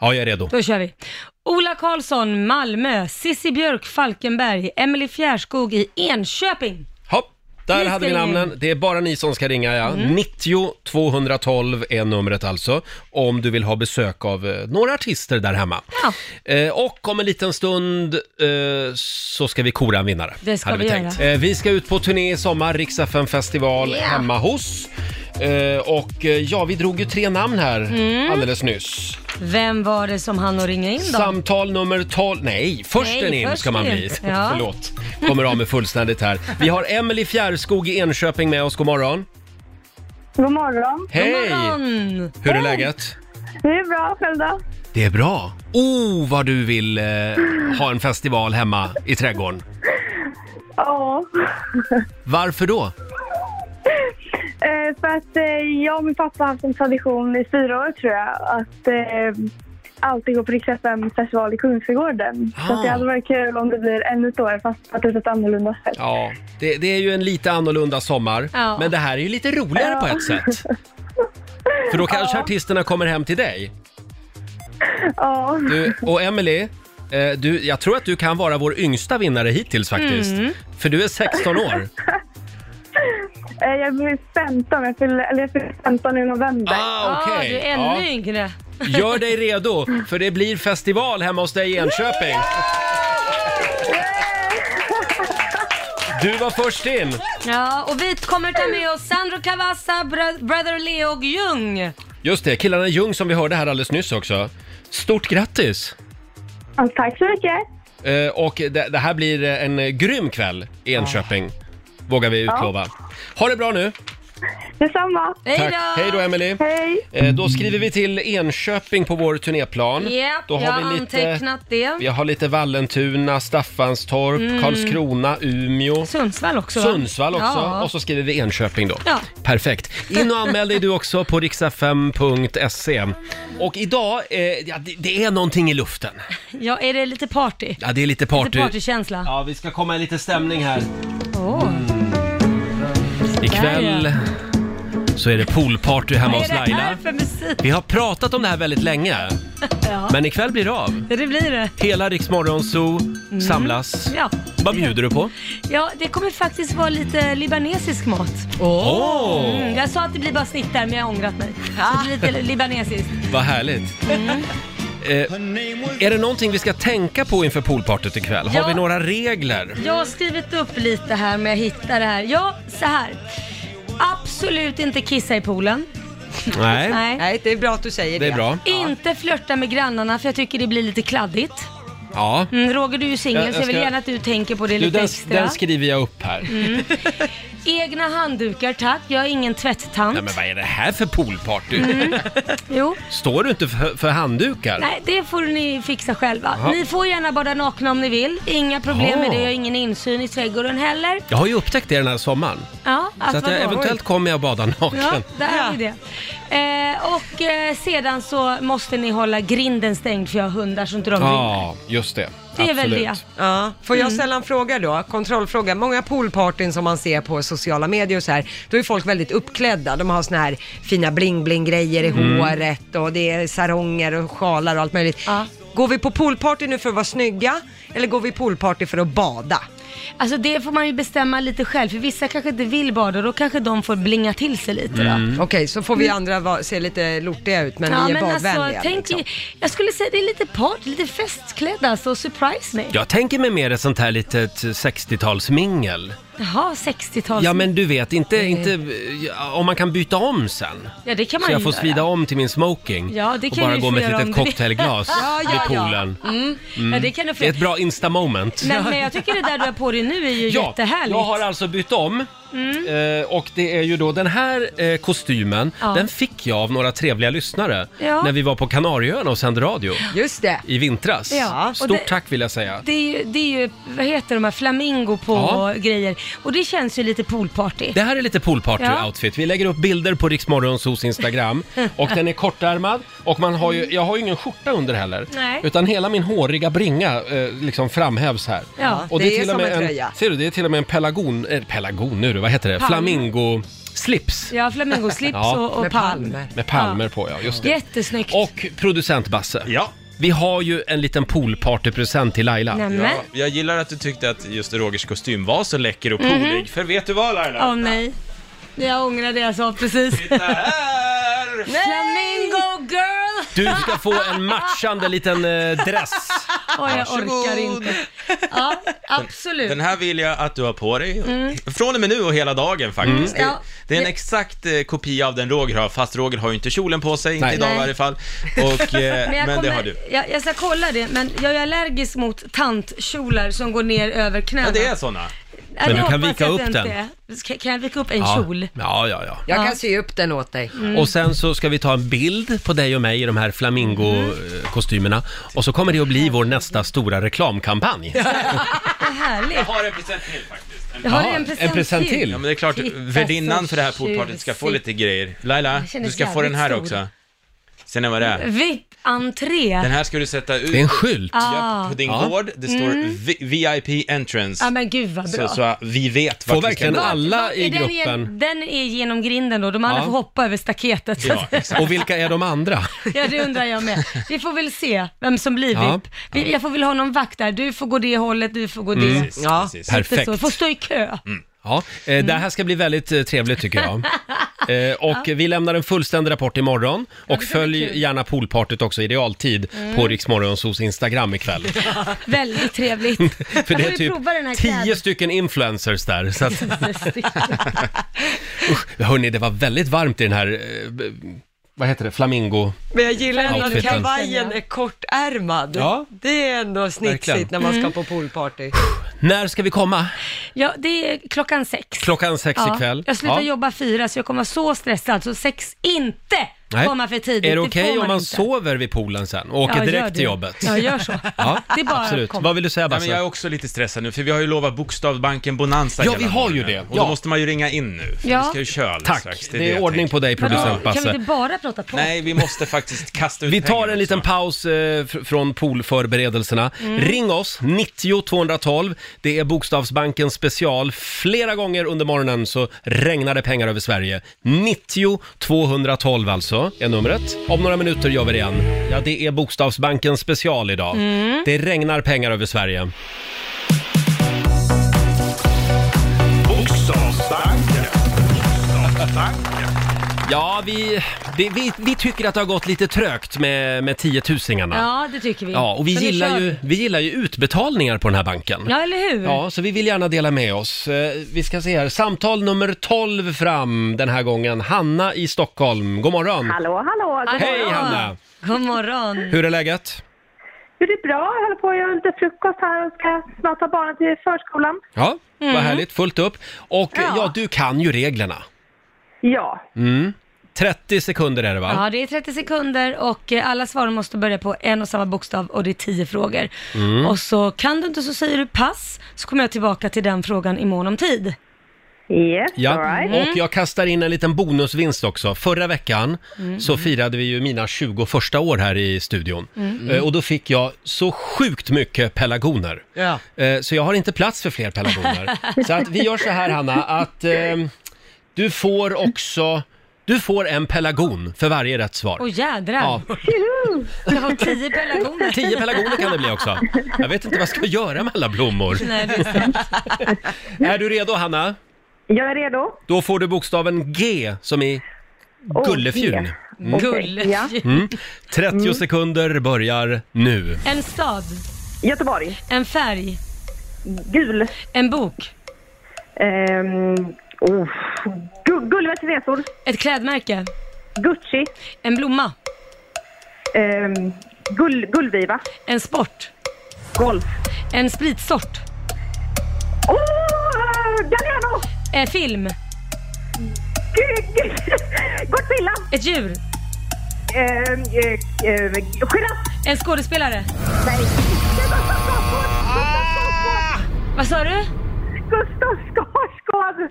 A: Ja, jag är redo.
D: Då kör vi. Ola Karlsson, Malmö. Sissi Björk, Falkenberg. Emily Fjärskog i Enköping.
A: Hopp.
D: Ni
A: Där hade
D: ska
A: vi
D: ringa
A: namnen.
D: in.
A: Det är bara ni som ska ringa, ja.
D: Mm.
A: 90 212 är numret alltså, om du vill ha besök av eh, några artister där hemma.
D: Ja.
A: Eh, och om en liten stund eh, så ska vi kora en vinnare.
D: Det ska
A: hade
D: vi
A: tänkt. Eh, vi ska ut på turné i sommar, Rix FM festival hemma hos. Eh, och eh, ja, vi drog ju tre namn här
D: Mm.
A: alldeles nyss.
D: Vem var det som hann att ringa in då?
A: Samtal nummer 12, nej, först
D: Nej,
A: en in
D: först
A: ska man
D: in.
A: bli.
D: Ja.
A: Förlåt, kommer av med fullständigt här. Vi har Emelie Fjärskog i Enköping med oss, god morgon.
H: God morgon.
A: Hej!
D: Samman!
A: Hur är läget?
H: Det är bra, själv då?
A: Det är bra. Oh, vad du vill eh, ha en festival hemma i trädgården.
H: Ja.
A: Varför då?
H: Eh, för att eh, jag och min pappa har haft en tradition i fyra år tror jag att eh, alltid gå på Rix FM festival i Kungsträdgården. Så
A: Ah.
H: att det hade varit kul om det blir ännu ett år fast på ett annorlunda sätt.
A: Ja, det, det är ju en lite annorlunda sommar,
D: Ja.
A: men det här är ju lite roligare på ett sätt. För då kanske artisterna kommer hem till dig.
H: Ja.
A: Du, och Emily, eh, du, jag tror att du kan vara vår yngsta vinnare hittills faktiskt. För du är 16 år.
H: Eh, jag blir 15, jag fyller, eller jag fyller 15 i november.
A: Ah, okej.
D: Ah, du är ännu
A: Ja.
D: yngre.
A: Gör dig redo, för det blir festival hemma hos dig i Enköping. Du var först in.
D: Ja, och vi kommer ta med oss Sandro Cavazza, Bro- Brother Leo och
A: Mm.
D: Ljung.
A: Just det, killarna i Ljung som vi hörde här alldeles nyss också. Stort grattis!
H: Ja, tack så mycket.
A: Eh, Och det, det här blir en grym kväll i Enköping, vågar vi utlova. Ha det bra nu!
H: Detsamma.
D: Hej
A: Tack!
D: då!
A: Hej då, Emily.
H: Hej.
A: Eh, Då skriver vi till Enköping på vår turnéplan.
D: Japp,
A: Då
D: jag har
A: vi lite,
D: antecknat det.
A: vi har lite Vallentuna, Staffanstorp, Karlskrona, Umeå.
D: Mm. Sundsvall också va?
A: Sundsvall också
D: Ja.
A: och så skriver vi Enköping då.
D: Ja.
A: Perfekt. In och anmäl dig du också på riksfm.se. Och idag, eh, ja, det, det är någonting i luften.
D: ja, är det lite party?
A: Ja, det är lite
D: Lite
A: party.
D: partykänsla?
A: Ja, vi ska komma i lite stämning här.
D: Åh.
A: Mm. Ikväll så är det poolparty hemma
D: Vad
A: hos
D: är det här
A: Laila.
D: för musik?
A: Vi har pratat om det här väldigt länge,
D: Ja,
A: men ikväll blir det av.
D: det blir det. Mm.
A: Hela Rix Morgon Zoo samlas.
D: Ja.
A: Vad bjuder du på?
D: ja, det kommer faktiskt vara lite libanesisk mat.
A: Åh, Ah.
D: Mm, jag sa att det blir bara snitt där, men jag har ångrat mig. Så det blir lite Mm. libanesiskt.
A: vad härligt. Eh, är det någonting vi ska tänka på inför poolpartyt ikväll?
D: Ja.
A: Har vi några regler?
D: Jag har skrivit upp lite här om jag hittar det här. Ja, så här. Absolut inte kissa i poolen.
A: Nej,
D: Nej.
B: Nej, det är bra att du säger det.
A: det är bra.
D: Inte flörta med grannarna för jag tycker det blir lite kladdigt.
A: Ja.
D: Mm, Roger, du är ju
A: Jag-
D: singel
A: jag
D: så jag vill
A: ska-
D: gärna att du tänker på det
A: Du,
D: lite
A: den,
D: extra.
A: den skriver jag upp här.
D: Mm. Egna handdukar tack, jag är ingen tvättant.
A: Nej, men vad är det här för poolparty?
D: Jo.
A: Står du inte för, för handdukar?
D: Mm. Nej, det får ni fixa själva. Ni får gärna bada nakna om ni vill. Inga problem med
A: Jaha.
D: det. Jag har ingen insyn i trädgården heller.
A: Jag har ju upptäckt det den här sommaren.
D: Ja, att
A: Så att
D: vadå?
A: jag, eventuellt kommer jag bada naken.
D: Ja, där har vi det. Eh, och eh, sedan så måste ni hålla grinden stängd för jag har hundar så inte de vinner.
A: Ja, just det.
D: Det är väl
A: Absolut.
D: det. Mm.
B: Ja. Får jag ställa en fråga då? Kontrollfråga. Många poolpartyn som man ser på sociala medier och så här, då är folk väldigt uppklädda. De har såna här fina bling-bling-grejer i
D: Mm.
B: håret och det är saronger och sjalar och allt möjligt.
D: Ja.
B: Går vi på poolparty nu för att vara snygga eller går vi poolparty för att bada?
D: Alltså det får man ju bestämma lite själv för vissa kanske inte vill bada och då kanske de får blinga till sig lite då.
A: Mm.
B: Okej, så får vi andra va- se lite lortiga ut Mm. men vi är badvänliga.
D: alltså, tänk,
B: liksom.
D: Jag skulle säga det är lite party, lite festklädda alltså, surprise me.
A: Jag tänker mig mer ett sånt här litet 60-talsmingel.
D: Jaha, 60-tals...
A: Ja men du vet, inte, inte ja, om man kan byta om sen.
D: Ja, det kan man
A: Så jag
D: ju
A: får
D: göra.
A: svida om till min smoking
D: Ja, det
A: och
D: kan
A: bara
D: du
A: gå
D: få
A: med
D: göra
A: ett
D: om du-
A: litet cocktailglas
D: Ja, ja,
A: vid
D: ja.
A: poolen. Mm.
D: Ja, det kan du få
A: Det är ett bra insta-moment.
D: men, men jag tycker det där du har på dig nu är ju
A: Ja,
D: jättehärligt. Mm.
A: jag har alltså bytt om eh, och det är ju då den här eh, kostymen,
D: Ja.
A: den fick jag av några trevliga lyssnare
D: Ja.
A: när vi var på Kanarieöarna och sände radio
B: Just det.
A: i vintras.
D: Ja, och
A: Stort
D: det-
A: tack vill jag säga.
D: Det är, ju, det är ju, vad heter de här, flamingo på
A: Ja.
D: grejer. Och det känns ju lite poolparty.
A: Det här är lite
D: Ja.
A: poolparty-outfit. Vi lägger upp bilder på Riksmorgonsos Instagram. Och den är kortärmad och man har ju, jag har ju ingen skjorta under heller.
D: Nej.
A: Utan hela min håriga bringa eh, liksom framhävs här.
D: Ja,
A: och
B: det är som en tröja.
A: Ser du, det är till och med en pelargon, eh, pelargon nu du, vad heter det?
D: Palm.
A: Flamingo-slips
D: Ja, flamingoslips
A: Ja.
D: och, och
B: Med
D: palm.
B: palmer.
A: med palmer på ja, just det.
D: Jättesnyggt.
A: Och producent Basse.
G: Ja.
A: Vi har ju en liten poolpartypresent till Laila.
D: Nämen.
G: Jag gillar att du tyckte att just Rogers kostym var så läcker och poolig, för vet du vad Laila?
D: Åh Mhm. nej. Jag ångrar det jag sa precis.
G: Titta här!
D: Flamingo girl!
A: Du ska få en matchande liten eh, dress.
D: Oj, jag orkar
G: Varsågod.
D: inte. Ja, absolut.
G: Den här vill jag att du har på dig, från och med nu och hela dagen faktiskt.
D: Mm.
G: Det,
D: Ja.
G: det är en
D: Det-
G: exakt eh, kopia av den Roger har, fast Roger har ju inte kjolen på sig,
A: Nej.
G: inte idag
D: Nej.
G: i varje fall. Och, eh, men
D: jag
G: det
D: kommer-
G: har du.
D: Jag, jag ska kolla det, men jag är allergisk mot tantkjolar som går ner över knäna.
G: Ja, det är såna.
D: Ja,
A: Men
D: det
A: du kan
D: hoppas
A: vika
D: jag
A: upp
D: att det inte
A: den.
D: är. Ska- Kan jag vika upp en kjol?
A: Ja, ja, ja.
I: Jag
D: Ja. Mm.
I: kan sy upp den åt dig.
A: Och sen så ska vi ta en bild på dig och mig i de här
D: Mm.
A: flamingokostymerna. Och så kommer det att bli vår nästa stora reklamkampanj.
D: Vad härligt.
G: har en present till faktiskt.
D: Jag har
A: Ja,
D: en present, till.
G: Ja men det är klart,
D: Titta,
G: värdinnan
D: så
G: för det här poolpartyt ska få
D: tjusigt.
G: lite grejer. Laila,
D: känner
G: du ska
D: sig
G: få den här
D: jävligt stor.
G: också. Ser ni vad det är?
D: VIP-entré.
G: Den här ska du sätta ut
A: Det är en skylt.
G: Ja, på din
A: Ja.
G: gård. Det står vi- VIP entrance.
D: Mm. Ja men gud vad bra.
G: så, så att vi vet
A: Får
G: vart vi ska
A: verkligen
G: gå.
A: alla
D: Är
A: i
D: den
A: gruppen.
D: gen- Den är genom grinden då, de andra
A: Ja.
D: får hoppa över staketet.
G: Ja, exakt.
A: Och vilka är de andra?
D: Ja, det undrar jag med. Vi får väl se vem som blir
A: Ja.
D: VIP. Vi- Jag får väl ha någon vakt där. Du får gå det hållet, du får gå det.
G: Precis,
I: Ja.
G: precis.
A: Mm. Perfekt.
D: Lite så. Får stå i kö.
G: Mm.
A: Ja, eh,
D: Mm.
A: det här ska bli väldigt eh, trevligt tycker jag. Eh, Och vi lämnar en fullständig rapport imorgon. Och följ gärna poolpartyt också i realtid på
D: Mm.
A: Riksmorgonsos Instagram ikväll.
D: Väldigt trevligt. Jag
A: För
D: får
A: det är
D: ju
A: typ
D: prova den här
A: tio
D: kläden.
A: stycken influencers där. Så att,
D: Stycken.
A: hörni, det var väldigt varmt i den här, eh, b- vad heter det, flamingo...
B: Men jag gillar ändå att
A: Outfiten.
B: kavajen är kortärmad.
A: Ja.
B: Det är ändå snitsigt
A: Verkligen.
B: när man ska på poolparty.
A: När ska vi komma?
D: Ja, det är klockan sex.
A: Klockan sex
D: Ja,
A: ikväll.
D: Jag slutar
A: Ja.
D: jobba fyra så jag kommer vara så stressad så sex inte
A: Nej.
D: komma för tidigt.
A: Är det
D: får
A: okej om man
D: inte.
A: sover vid poolen sen och åker
D: Ja, gör
A: direkt
D: det.
A: till jobbet?
D: Ja, gör så.
A: Ja,
D: det är bara
A: absolut.
D: att komma.
A: Vad vill du säga
G: Nej,
A: Basse?
G: men jag är också lite stressad nu, för vi har ju lovat Bokstavbanken Bonanza
A: Ja,
G: hela
A: vi har ju
G: morgonen.
A: det.
G: Och
A: Ja.
G: då måste man ju ringa in nu, för
D: Ja.
G: vi ska ju köra alldeles
A: Tack,
G: strax.
A: det är, ordning på dig
D: Vadå?
A: producent
D: Kan vi
A: Basse.
D: inte bara prata på?
G: Nej, vi måste faktiskt kasta ut
A: Vi tar
G: pengarna
A: en liten
G: också.
A: paus eh, fr- från poolförberedelserna. Ring oss, 90 212. Det är Bokstavsbanken special. Flera gånger under morgonen så regnar det pengar över Sverige. 90 212 alltså, är numret. Om några minuter gör vi det igen. Ja, det är Bokstavsbanken special idag. Det regnar pengar över Sverige. Ja, vi, det, vi, vi tycker att det har gått lite trögt med, med tiotusingarna.
D: Ja, det tycker vi.
A: Ja, och vi
D: Så nu
A: gillar,
D: kör
A: ju,
D: vi.
A: vi gillar ju utbetalningar på den här banken.
D: Ja, eller hur?
A: Ja, så vi vill gärna dela med oss. Eh, Vi ska se här, samtal nummer 12 fram den här gången. Hanna i Stockholm, god morgon!
H: Hallå, hallå! god
A: Hej
H: morgon.
A: Hanna!
D: God morgon.
A: Hur är läget?
H: Jo, det är bra. Jag håller på att göra lite frukost här och ska snart ta barnen till förskolan.
A: Ja,
D: Mm.
A: vad härligt, fullt upp. Och ja. ja, du kan ju reglerna.
H: Ja,
A: 30 sekunder är det va?
D: Ja, det är 30 sekunder och eh, alla svar måste börja på en och samma bokstav och det är 10 frågor.
A: Mm.
D: Och så kan du inte så säger du pass, så kommer jag tillbaka till den frågan i mån om tid.
H: yes,
A: Ja,
H: all right.
A: och
D: Mm.
A: jag kastar in en liten bonusvinst också. Förra veckan
D: Mm.
A: så firade vi ju mina 21 år här i studion.
D: Mm.
A: Eh, Och då fick jag så sjukt mycket pelargoner.
I: Ja.
A: Eh, Så jag har inte plats för fler pelargoner. så att vi gör så här Hanna, att eh, du får också, du får en pelargon för varje rätt svar.
D: Åh jädrar,
A: Ja,
D: jag får 10 pelargoner.
A: tio pelargoner kan det bli också. Jag vet inte vad jag ska göra med alla blommor.
D: Nej, det är sant.
A: Är du redo Hanna?
H: Jag är redo.
A: Då får du bokstaven G som i
H: Åh,
A: gullefjun.
H: G.
D: Mm.
H: Okej,
D: Gull.
H: Ja.
A: Mm. 30
D: Mm.
A: sekunder börjar nu.
D: En stad,
H: Göteborg.
D: en färg,
H: Gul.
D: en bok,
H: Ehm, oh. Gu- Gullivers resor.
D: ett klädmärke,
H: Gucci.
D: en blomma,
H: Ehm, gull, gullviva.
D: en sport,
H: Golf.
D: en spritsort,
H: Åh! Oh, Galliano!
D: en film,
H: Gu- gu- Godzilla!
D: ett djur,
H: Ehm, eh, eh, Giraff!
D: en skådespelare.
H: Nej! Gustav
A: Ah!
H: Skarsgård!
D: Vad sa du?
H: Gustav Skarsgård!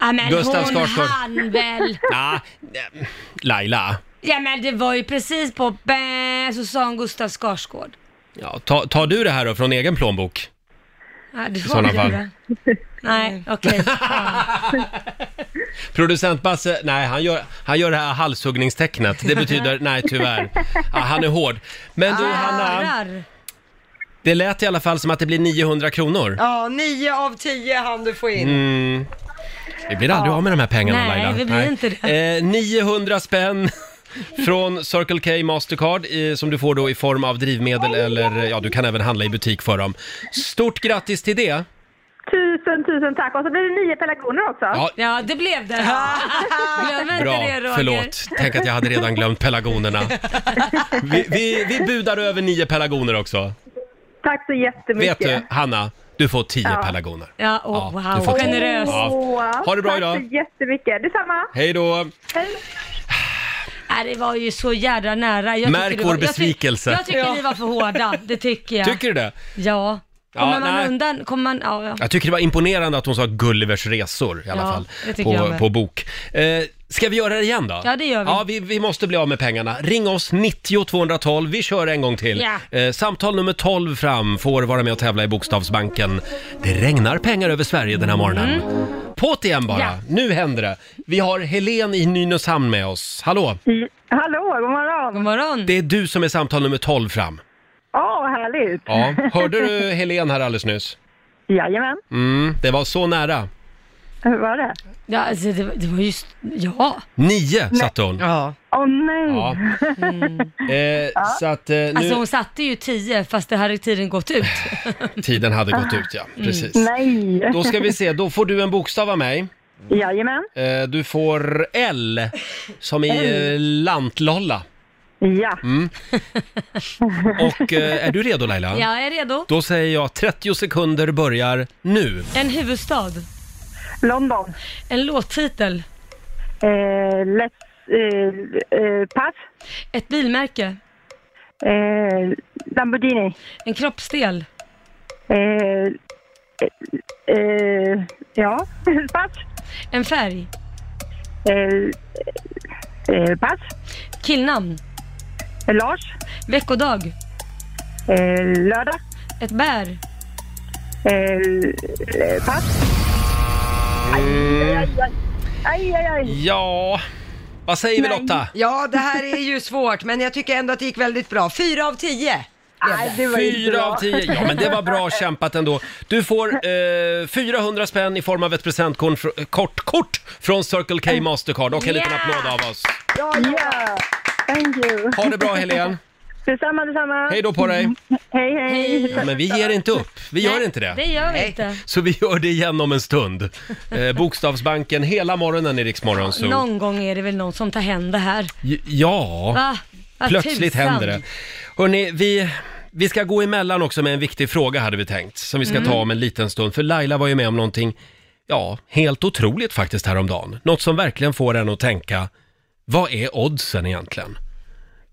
D: Ja, men
A: Gustav
D: hon
A: Skarsgård.
D: hann väl.
A: Ah, eh, Laila,
D: Ja men det var ju precis på bä, så sa hon Gustav Skarsgård.
A: ja, ta, tar du det här då från egen plånbok?
D: Ja, det
A: sådana
D: var det. Nej, okej. Fan.
A: Producent Basse, nej han gör, han gör det här halshuggningstecknet. Det betyder, nej tyvärr. Ja, han är hård. Men
B: Ah,
A: du Hanna,
D: Örar.
A: det lät i alla fall som att det blir 900 kronor.
B: Ja, nio av tio han du får in.
A: Mm. Vi blir aldrig av med de här pengarna
D: Nej,
A: Laila.
D: vi blir inte
A: det. Eh, 900 spänn från Circle K Mastercard eh, som du får då i form av drivmedel eller eh, ja, du kan även handla i butik för dem. Stort grattis till det!
H: Tusen, tusen tack. Och så blir det nio pelargoner också.
A: Ja,
D: Ja, det blev det. Glöm inte
A: Bra,
D: det Roger.
A: förlåt. Tänk att jag hade redan glömt pelargonerna. Vi, vi, vi budar över nio pelargoner också.
H: Tack så jättemycket.
A: Vet du, Hanna, du får tio pelargoner.
D: Ja, åh
A: Ja, du får
D: wow.
A: ta-
D: Generös.
A: Ja. Ha det bra idag.
H: Tack så jättemycket. Detsamma.
A: Hej då!
D: Nej, det var ju så jädra nära. Jag
A: Märk
D: tycker det
A: vår
D: var- jag ty-
A: besvikelse.
D: Jag tycker, ni var för hårda, det tycker jag.
A: Tycker du det?
D: Ja.
A: Ja,
D: Kommer man
A: nej.
D: undan, kommer man, ja, ja.
A: Jag tycker det var imponerande att hon sa Gullivers resor i alla
D: Ja,
A: fall
D: det tycker jag
A: på,
D: med.
A: på bok. Eh, ska vi göra det igen då?
D: Ja, det gör vi.
A: Ja, vi, vi måste bli av med pengarna. Ring oss 90 212, vi kör en gång till.
D: Ja.
A: Eh, samtal nummer 12 fram får vara med och tävla i Bokstavsbanken. Det regnar pengar över Sverige den här morgonen. På't igen bara,
D: Mm. Ja.
A: nu händer det. Vi har Helen i Nynäshamn med oss. Hallå,
H: Mm. Hallå, god
D: God
H: morgon.
D: morgon.
A: det är du som är samtal nummer 12 fram.
H: Åh, härligt.
A: Ja, hörde du Helen här alldeles nyss?
H: Jajamän.
A: Mm, det var så nära.
H: Hur var det?
D: Ja, alltså, det, var- det var just, ja.
A: Nio satte hon.
B: Ja.
H: Åh nej.
A: Ja. Eh, Så att eh, nu,
D: Mm. Alltså hon satte ju 10 fast det hade tiden gått ut.
A: tiden hade gått ut ja,
D: Mm.
A: precis.
H: Nej.
A: Då ska vi se, då får du en bokstav av mig.
H: Jajamän.
A: Eh, du får L, som i eh, lantlolla. Mm.
H: Ja.
A: Och eh, är du redo Laila?
D: Jag är redo.
A: Då säger jag 30 sekunder börjar nu.
D: En huvudstad.
H: London.
D: En låttitel.
H: Eh, let's, eh, eh, pass.
D: Ett bilmärke.
H: Eh, Lamborghini.
D: En kroppsdel.
H: Eh, eh, eh, ja. pass.
D: En färg.
H: Eh, eh, pass.
D: Killnamn.
H: Eh, Lars.
D: Veckodag.
H: Eh, lördag.
D: Ett bär.
H: Eh, eh, pass. Aj, aj, aj.
A: Eh, Ja, vad säger vi Lotta?
B: ja, det här är ju svårt, men jag tycker ändå att det gick väldigt bra. Fyra av tio.
H: Nej, Eh, det var inte
A: Fyra
H: bra.
A: av tio. Ja, men det var bra kämpat ändå. Du får eh, 400 spänn i form av ett presentkort fr- kort, kort från Circle K Mastercard och en liten
D: Yeah!
A: applåd av oss.
H: Ja, thank you.
A: Ha det bra Helen.
H: Detsamma, detsamma. Mm.
A: Hej då på dig.
H: Hej, hej.
A: Ja, men vi ger inte upp. Vi gör
D: Nej,
A: inte det.
D: Det gör vi inte.
A: Så vi gör det igen om en stund. Eh, bokstavsbanken hela morgonen i Rix Morgon Zoo.
D: Någon gång är det väl någon som tar hem det här.
A: J- Ja,
D: Va? Vad
A: plötsligt
D: tusan.
A: händer det. Hörrni, vi, vi ska gå emellan också med en viktig fråga hade vi tänkt. Som vi ska
D: Mm.
A: ta om en liten stund. För Laila var ju med om någonting, ja, helt otroligt faktiskt häromdagen. Något som verkligen får en att tänka, vad är oddsen egentligen?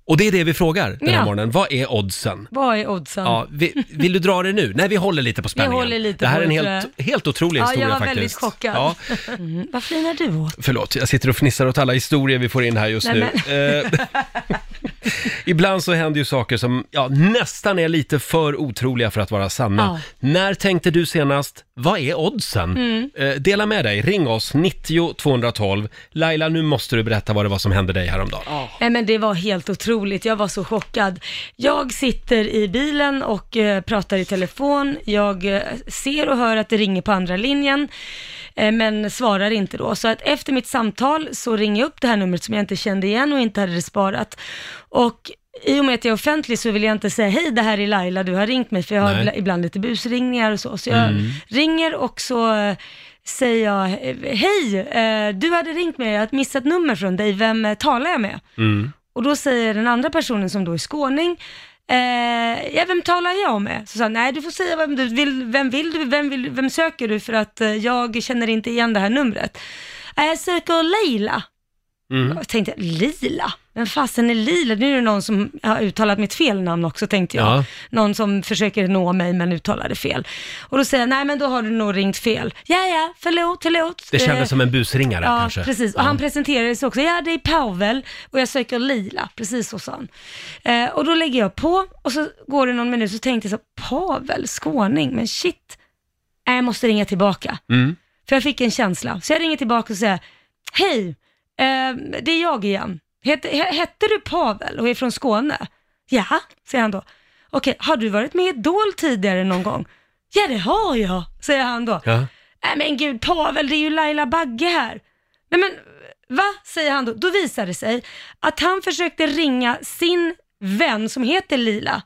A: Och det är det vi frågar den här
D: Ja.
A: morgonen. Vad är oddsen?
D: Vad är oddsen?
A: Ja, vi, vill du dra det nu? Nej, vi håller lite på spänningen.
D: håller lite
A: det här
D: på
A: är en
D: det,
A: helt,
D: tror
A: helt otrolig
D: Ja, jag
A: historia
D: var
A: faktiskt.
D: väldigt chockad.
A: Ja,
D: Mm, vad flinar du åt?
A: förlåt, jag sitter och fnissar åt alla historier vi får in här just
D: Nej,
A: nu. Eh, Ibland så händer ju saker som ja, nästan är lite för otroliga för att vara sanna. När tänkte du senast, vad är oddsen?
D: Mm.
A: Eh, dela med dig, ring oss, 90 212. Laila, nu måste du berätta vad det var som hände dig häromdagen.
D: Nej men det var helt otroligt, jag var så chockad. Jag sitter i bilen och eh, pratar i telefon, jag eh, ser och hör att det ringer på andra linjen, eh, men svarar inte då. Så att efter mitt samtal så ringer jag upp det här numret som jag inte kände igen och inte hade det sparat. Och i och med att jag är offentlig så vill jag inte säga hej det här är Laila, du har ringt mig, för jag har
A: Nej.
D: ibla- ibland lite busringningar och så. Så jag ringer och så eh, säger jag, eh, hej, eh, du hade ringt mig, jag har ett missat nummer från dig, vem eh, talar jag med?
A: Mm.
D: Och då säger den andra personen som då är skåning, eh, ja, vem talar jag med? Så sa han, nej du får säga vem du vill, vem vill du, vem, vill, vem söker du för att eh, jag känner inte igen det här numret. "Eh, Jag söker Leila.
A: Mm.
D: Jag tänkte, Lila? Vem fasen är Lila? Nu är det någon som har uttalat mitt fel namn också tänkte jag.
A: Ja.
D: Någon som försöker nå mig men uttalar det fel. Och då säger jag, nej men då har du nog ringt fel. Ja, ja, förlåt, förlåt.
A: Det kändes
D: Eh,
A: som en busringare
D: Ja,
A: kanske.
D: precis. Och han presenterade sig också. Ja, det är Pavel och jag söker lila. Precis så sa han. Eh, och då lägger jag på och så går det någon minut så tänkte jag så, Pavel, skåning, men shit. Nej, jag måste ringa tillbaka.
A: Mm.
D: För jag fick en känsla. Så jag ringer tillbaka och säger, Hej, eh, det är jag igen. Hette, he- hette du Pavel och är från Skåne? Ja, säger han då. Okej, har du varit med i Idol tidigare någon gång? Ja, det har jag, säger han då.
A: Ja.
D: Nej Äh, men gud Pavel, det är ju Laila Bagge här. Nej men va, säger han då. Då visar det sig att han försökte ringa sin vän som heter Lila. Eh,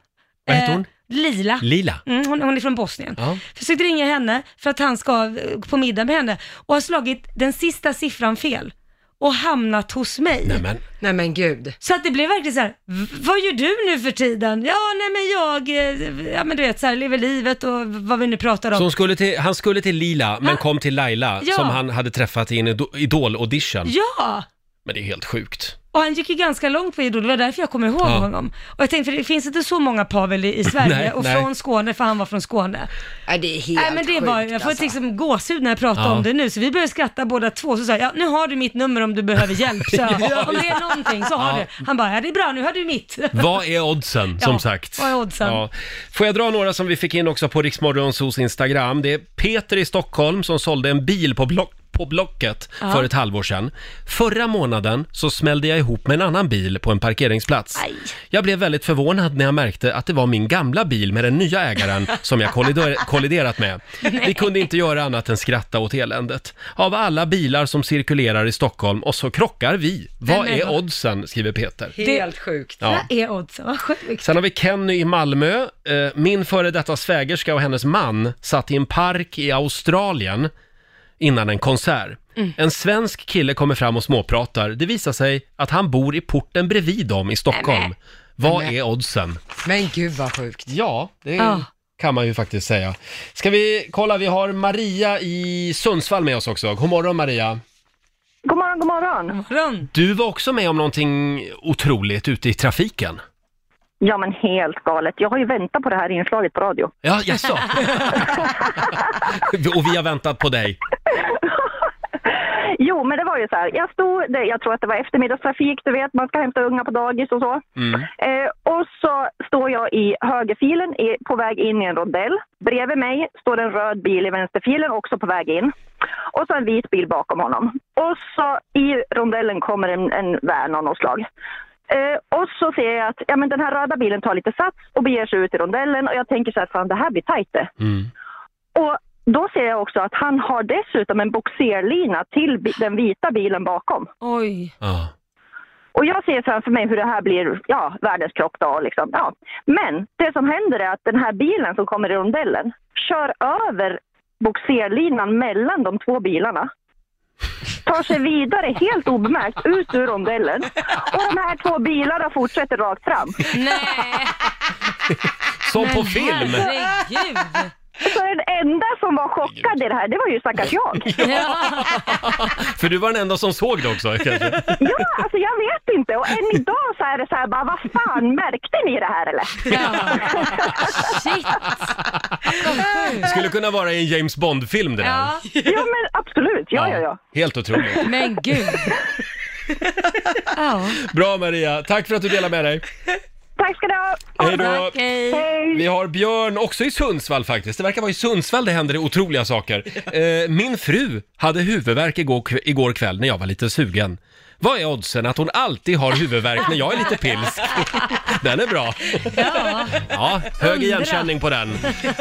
A: Vad heter hon?
D: Lila.
A: Lila.
D: Mm, hon, hon är från Bosnien.
A: Ja.
D: Försökte ringa henne för att han ska eh, på middag med henne och har slagit den sista siffran fel och hamnat hos mig.
A: Nämen.
B: Nej men gud.
D: Så att det blev verkligen så här, "V- vad gör du nu för tiden? Ja, nej men jag, eh, ja men du vet så här, lever livet och vad vi nu pratar om.
A: Så hon skulle till, han skulle till Lila, men
D: Han-
A: kom till Laila
D: Ja.
A: som han hade träffat i en ido- idol-audition.
D: Ja!
A: Men det är helt sjukt.
D: Och han gick ju ganska långt på Idol, det var därför jag kommer ihåg
A: Ja.
D: honom. Och jag tänkte, för det finns inte så många Pavel i, i Sverige
A: Nej,
D: och
A: nej.
D: från Skåne, för han var från Skåne.
B: Nej det är helt
D: Nej men det
B: sjukt
D: var, jag får
B: alltså.
D: liksom gåshud när jag pratar
A: Ja.
D: om det nu, så vi började skratta båda två, så sa jag, ja, nu har du mitt nummer om du behöver hjälp, så om det är någonting så har
A: Ja.
D: du. Han bara, ja det är bra, nu har du mitt.
A: Vad är oddsen, som
D: Ja,
A: sagt?
D: vad är oddsen?
A: Får jag dra några som vi fick in också på Riksmorgonsos Instagram? Det är Peter i Stockholm som sålde en bil på, block, på Blocket
D: Ja.
A: för ett halvår sedan. Förra månaden så smällde jag ihop med en annan bil på en parkeringsplats.
D: Aj.
A: Jag blev väldigt förvånad när jag märkte att det var min gamla bil med den nya ägaren som jag kollider- kolliderat med. Vi kunde inte göra annat än skratta åt eländet. Av alla bilar som cirkulerar i Stockholm och så krockar vi. Vad
D: Nej, men
A: är
D: vad-
A: oddsen? skriver Peter.
B: Helt sjukt.
A: Ja.
D: Vad är oddsen? Vad sjukt.
A: Sen har vi Kenny i Malmö. Eh, Min före detta svägerska och hennes man satt i en park i Australien innan en konsert.
D: Mm.
A: En svensk kille kommer fram och småpratar. Det visar sig att han bor i porten bredvid dem i Stockholm. Vad är oddsen?
B: Men gud vad sjukt.
A: Ja, det
B: Ah.
D: Ja.
A: kan man ju faktiskt säga. Ska vi kolla, vi har Maria i Sundsvall med oss också. God morgon Maria.
H: God morgon, god morgon.
D: Morgon.
A: Du var också med om någonting otroligt ute i trafiken.
H: Ja, men helt galet. Jag har ju väntat på det här inslaget på radio.
A: Ja, jaså? och vi har väntat på dig.
H: Jo, men det var ju så här. Jag stod, det- jag tror att det var eftermiddagstrafik, du vet, man ska hämta unga på dagis och så.
A: Mm.
H: Eh, och så står jag i högerfilen i, på väg in i en rondell. Bredvid mig står en röd bil i vänsterfilen också på väg in. Och så en vit bil bakom honom. Och så i rondellen kommer en, en van av något slag. Eh, och så ser jag att ja, men den här röda bilen tar lite sats och beger sig ut i rondellen och jag tänker så här, fan det här blir tajt det.
A: Mm.
H: Och då ser jag också att han har dessutom en boxerlina till bi- den vita bilen bakom.
D: Oj.
A: Ja.
H: Och jag ser framför mig hur det här blir ja, världens krock då, liksom. ja. Men det som händer är att den här bilen som kommer i rondellen kör över boxerlinan mellan de två bilarna. Tar sig vidare helt obemärkt ut ur rondellen. Och de här två bilarna fortsätter rakt fram.
D: Nej.
A: Som på film!
D: Herregud.
H: Alltså, Så den enda som var chockad i det här, det var ju stackars jag.
D: Ja.
A: För du var den enda som såg det också kanske.
H: Ja, alltså jag vet inte. Och än idag så är det så här bara, vad fan, märkte ni det här eller?
D: ja. Shit.
A: Det skulle kunna vara i en James Bond-film det där.
D: Ja.
H: Ja, men absolut. Ja, ja, ja.
A: Helt otroligt.
D: Men gud. Ja.
A: Bra Maria, tack för att du delade med dig.
H: Tack ska du ha.
A: Hej då!
D: Tack, hej.
H: Hej!
A: Vi har Björn, också i Sundsvall faktiskt. Det verkar vara i Sundsvall det händer otroliga saker. Eh, min fru hade huvudvärk igår, kv- igår kväll när jag var lite sugen. Vad är oddsen att hon alltid har huvudvärk när jag är lite pilsk? Den är bra.
D: Ja.
A: Ja, hög
D: Undra.
A: igenkänning på den.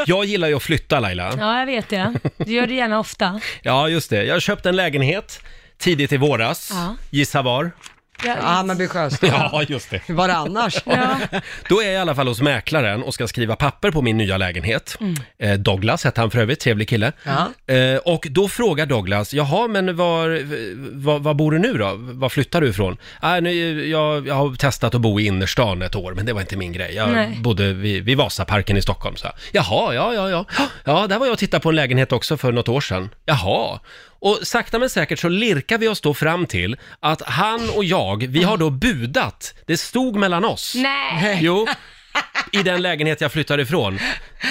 A: Jag gillar ju att flytta Laila.
D: ja, jag vet det. Du gör det gärna ofta.
A: Ja, just det. Jag köpte en lägenhet tidigt i våras.
D: Ja.
A: Gissa var?
B: Ja,
D: Ja.
B: Hammarby Sjöstad.
A: Ja, just det.
B: Hur var det annars?
D: Ja.
A: Då är jag i alla fall hos mäklaren och ska skriva papper på min nya lägenhet. Eh, Douglas hette han för övrigt, trevlig kille.
B: Mm. Ja.
A: Eh, och då frågar Douglas, jaha men var, var, var bor du nu då? Var flyttar du ifrån? Äh, nu, jag, jag har testat att bo i innerstan ett år, men det var inte min grej. Jag
D: Nej.
A: bodde vid, vid Vasaparken i Stockholm. Så. jag. Jaha, ja, ja, ja. Ja, där var jag och tittade på en lägenhet också för något år sedan. Jaha. Och sakta men säkert så lirkar vi oss då fram till att han och jag, vi har då budat. Det stod mellan oss.
D: Nej.
A: Jo, i den lägenhet jag flyttade ifrån.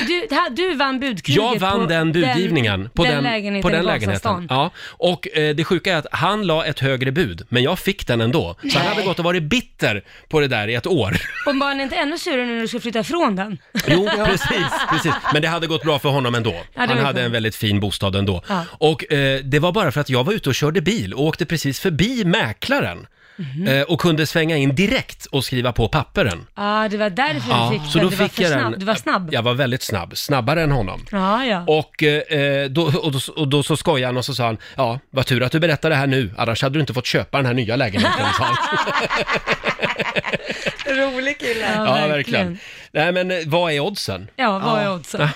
D: Du, det här, du vann budkriget
A: Jag vann
D: på
A: den budgivningen på den,
D: lägenheten
A: på
D: i
A: den
D: Vasastan.
A: lägenheten. Ja. Och eh, det sjuka är att han la ett högre bud, men jag fick den ändå. Så han hade gått och varit bitter på det där i ett år.
D: Och var han inte ännu surare nu när du skulle flytta ifrån den?
A: Jo, precis, precis. Men det hade gått bra för honom ändå.
D: det
A: Han
D: var
A: hade
D: skönt.
A: en väldigt fin bostad ändå.
D: Ja.
A: Och eh, det var bara för att jag var ute och körde bil och åkte precis förbi mäklaren.
D: Mhm.
A: Eh, och kunde svänga in direkt och skriva på papperen.
D: Ja, det var därför du fick
A: så
D: den.
A: då
D: du var
A: fick
D: för
A: jag
D: snabb.
A: den.
D: Du var snabb.
A: Jag var väldigt snabb, snabbare än honom.
D: Ja, ja.
A: Och, eh, då, och, då, och då så skojade han och så sa han, ja, vad tur att du berättar det här nu, annars hade du inte fått köpa den här nya lägenheten. sa han.
B: Rolig kille.
A: ja, verkligen. Nej, men eh, vad är oddsen?
D: Ja, vad är oddsen?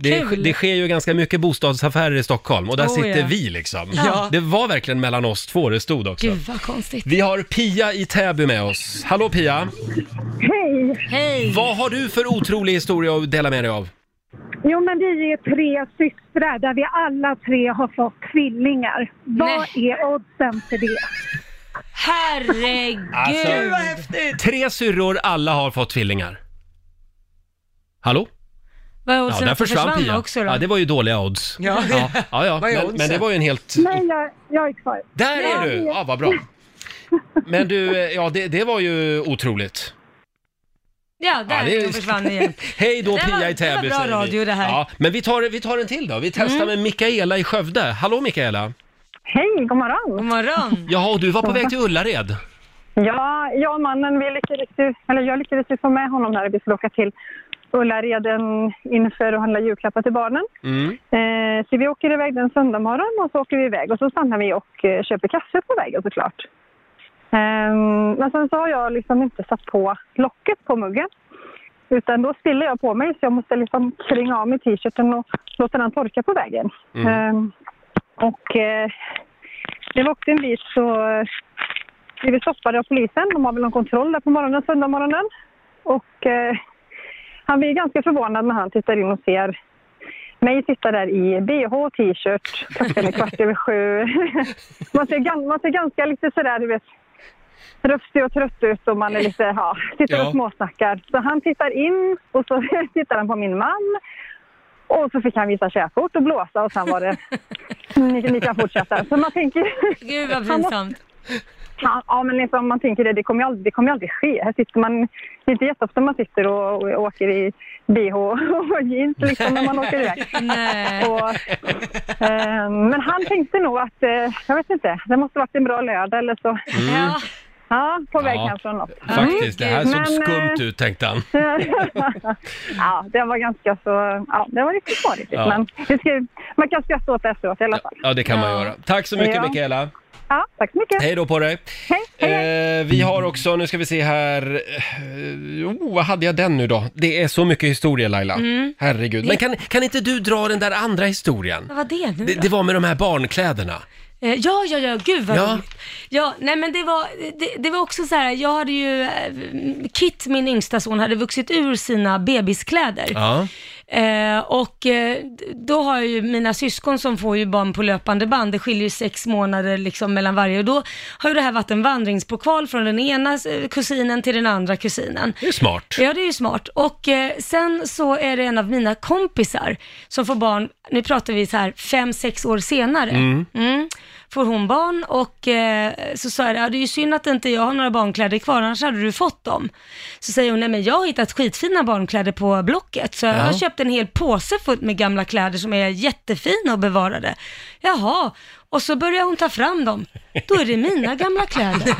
A: Det,
D: Kul.
A: det sker ju ganska mycket bostadsaffärer i Stockholm och där
D: Oh,
A: sitter
D: ja.
A: vi liksom.
B: Ja.
A: Det var verkligen mellan oss två det stod också.
D: Gud vad konstigt.
A: Vi har Pia i Täby med oss. Hallå Pia!
D: Hej!
A: Vad har du för otrolig historia att dela med dig av?
I: Jo, men vi är tre systrar där vi alla tre har fått tvillingar. Vad är oddsen för det?
D: Herregud!
A: Alltså-
B: Gud vad häftigt!
A: Tre syrror, alla har fått tvillingar. Hallå?
D: Vad är
A: Ja,
D: oddsen
A: där
D: att du
A: försvann
D: försvann
A: Pia.
D: också då?
A: Ja, det var ju dåliga odds.
B: Ja.
A: ja, ja, ja.
B: Vad är
A: Men,
B: oddsen?
A: men det var ju en helt...
I: Nej, jag, jag är kvar.
A: Där är du! Ja, vad bra. Men du, eh, ja det, det var ju otroligt.
D: Ja, där
A: Ja, det är-
D: hon försvann igen.
A: Hej då
D: Det var-
A: Pia i
D: det var
A: Täby
D: bra
A: säger vi.
D: radio, det här. Mm.
A: Ja, men vi tar, vi tar en till då. Vi testar med Mikaela i Skövde. Hallå Mikaela!
I: Hej, god morgon.
D: God morgon!
A: Jaha, och du var på väg till Ullared.
I: Ja, jag och mannen, vi lyckades ju, eller jag lyckades ju få med honom när vi skulle åka till Ullared inför och handla julklappar till barnen.
A: Mm.
I: Eh, så vi åker iväg den söndag morgon och så åker vi iväg och så stannar vi och eh, köper kaffe på vägen såklart. Ehm, men sen så har jag liksom inte satt på locket på muggen. Utan då spiller jag på mig så jag måste liksom kränga av mig t-shirten och låta den torka på vägen.
A: Mm.
I: Ehm, och eh, när vi åkte en bit så eh, blev vi stoppade av polisen. De har väl någon kontroll där på morgonen, söndag morgonen. Och eh, han blir ganska förvånad när han tittar in och ser mig sitta där i bh, t-shirt, klockan är kvart över sju. Man ser, gan- man ser ganska lite sådär, du vet, rufsig och trött ut och man är lite, ja, sitter
A: Ja.
I: och småsnackar. Så han tittar in och så tittar han på min man. Och så fick han visa körkort och blåsa och sen var det, ni, ni kan fortsätta. Så man tänker,
D: Gud vad pinsamt.
I: Ja, ja, men liksom, man tänker det, det kommer ju aldrig, det kommer ju aldrig ske. Här sitter man, det är inte jätteofta man sitter och, och åker i bh och jeans liksom, när man åker iväg.
D: Nej.
I: Och, eh, men han tänkte nog att, eh, jag vet inte, det måste varit en bra lördag eller så.
D: Ja.
I: Ja, på väg
A: Mm. Ja.
I: hem från något.
A: Faktiskt, det
D: Mm.
A: här såg
I: Men,
A: skumt
I: eh,
A: ut tänkte han.
I: ja, det var ganska så, ja, det var lite svårigt.
A: Ja.
I: Men det ska, man kan skratta åt det efteråt i alla fall.
A: Ja, det kan man
D: Ja.
A: göra. Tack så mycket
I: Ja.
A: Mikaela.
I: Ja, tack så mycket.
A: Hej då på dig.
I: Hej, hej,
A: Eh, vi har också, nu ska vi se här, eh, oh, vad hade jag den nu då? Det är så mycket historia Laila.
I: Mm.
A: Herregud. Men kan, kan inte du dra den där andra historien?
D: Vad var det nu
A: Det,
D: då?
A: det var med de här barnkläderna.
D: Eh, Ja, ja, ja, gud vad
A: Ja.
D: ja. ja, nej men det var, det, det var också så här, jag hade ju, eh, Kit, min yngsta son, hade vuxit ur sina bebiskläder.
A: Ja.
D: Eh, och eh, då har jag ju mina syskon som får ju barn på löpande band, det skiljer ju sex månader liksom mellan varje och då har ju det här varit en vandringspokal från den ena eh, kusinen till den andra kusinen.
A: Det är smart.
D: Ja, det är ju smart. Och eh, sen så är det en av mina kompisar som får barn, nu pratar vi så här fem, sex år senare. Mm. Får hon barn och eh, så sa jag det, "Ja, det är ju synd att inte jag har några barnkläder kvar, annars hade du fått dem. Så säger hon, nej men jag har hittat skitfina barnkläder på Blocket, så jag
A: Ja.
D: har köpt en hel påse full med gamla kläder som är jättefina och bevarade. Jaha, och så börjar hon ta fram dem. Då är det mina gamla kläder.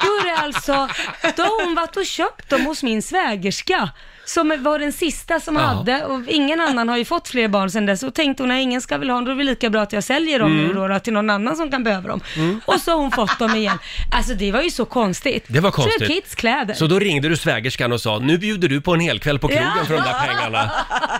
D: Då är det alltså, då har hon varit och köpt dem hos min svägerska. Som var den sista som
A: Ja.
D: hade och ingen annan har ju fått fler barn sedan dess. Och tänkte hon, när ingen ska väl ha dem, då är det lika bra att jag säljer dem
A: Mm.
D: nu då, då till någon annan som kan behöva dem. Och så har hon fått dem igen. Alltså det var ju så konstigt.
A: Det var konstigt.
D: Så det är kids kläder.
A: Så då ringde du svägerskan och sa, nu bjuder du på en hel kväll på krogen
D: Ja.
A: för de där pengarna.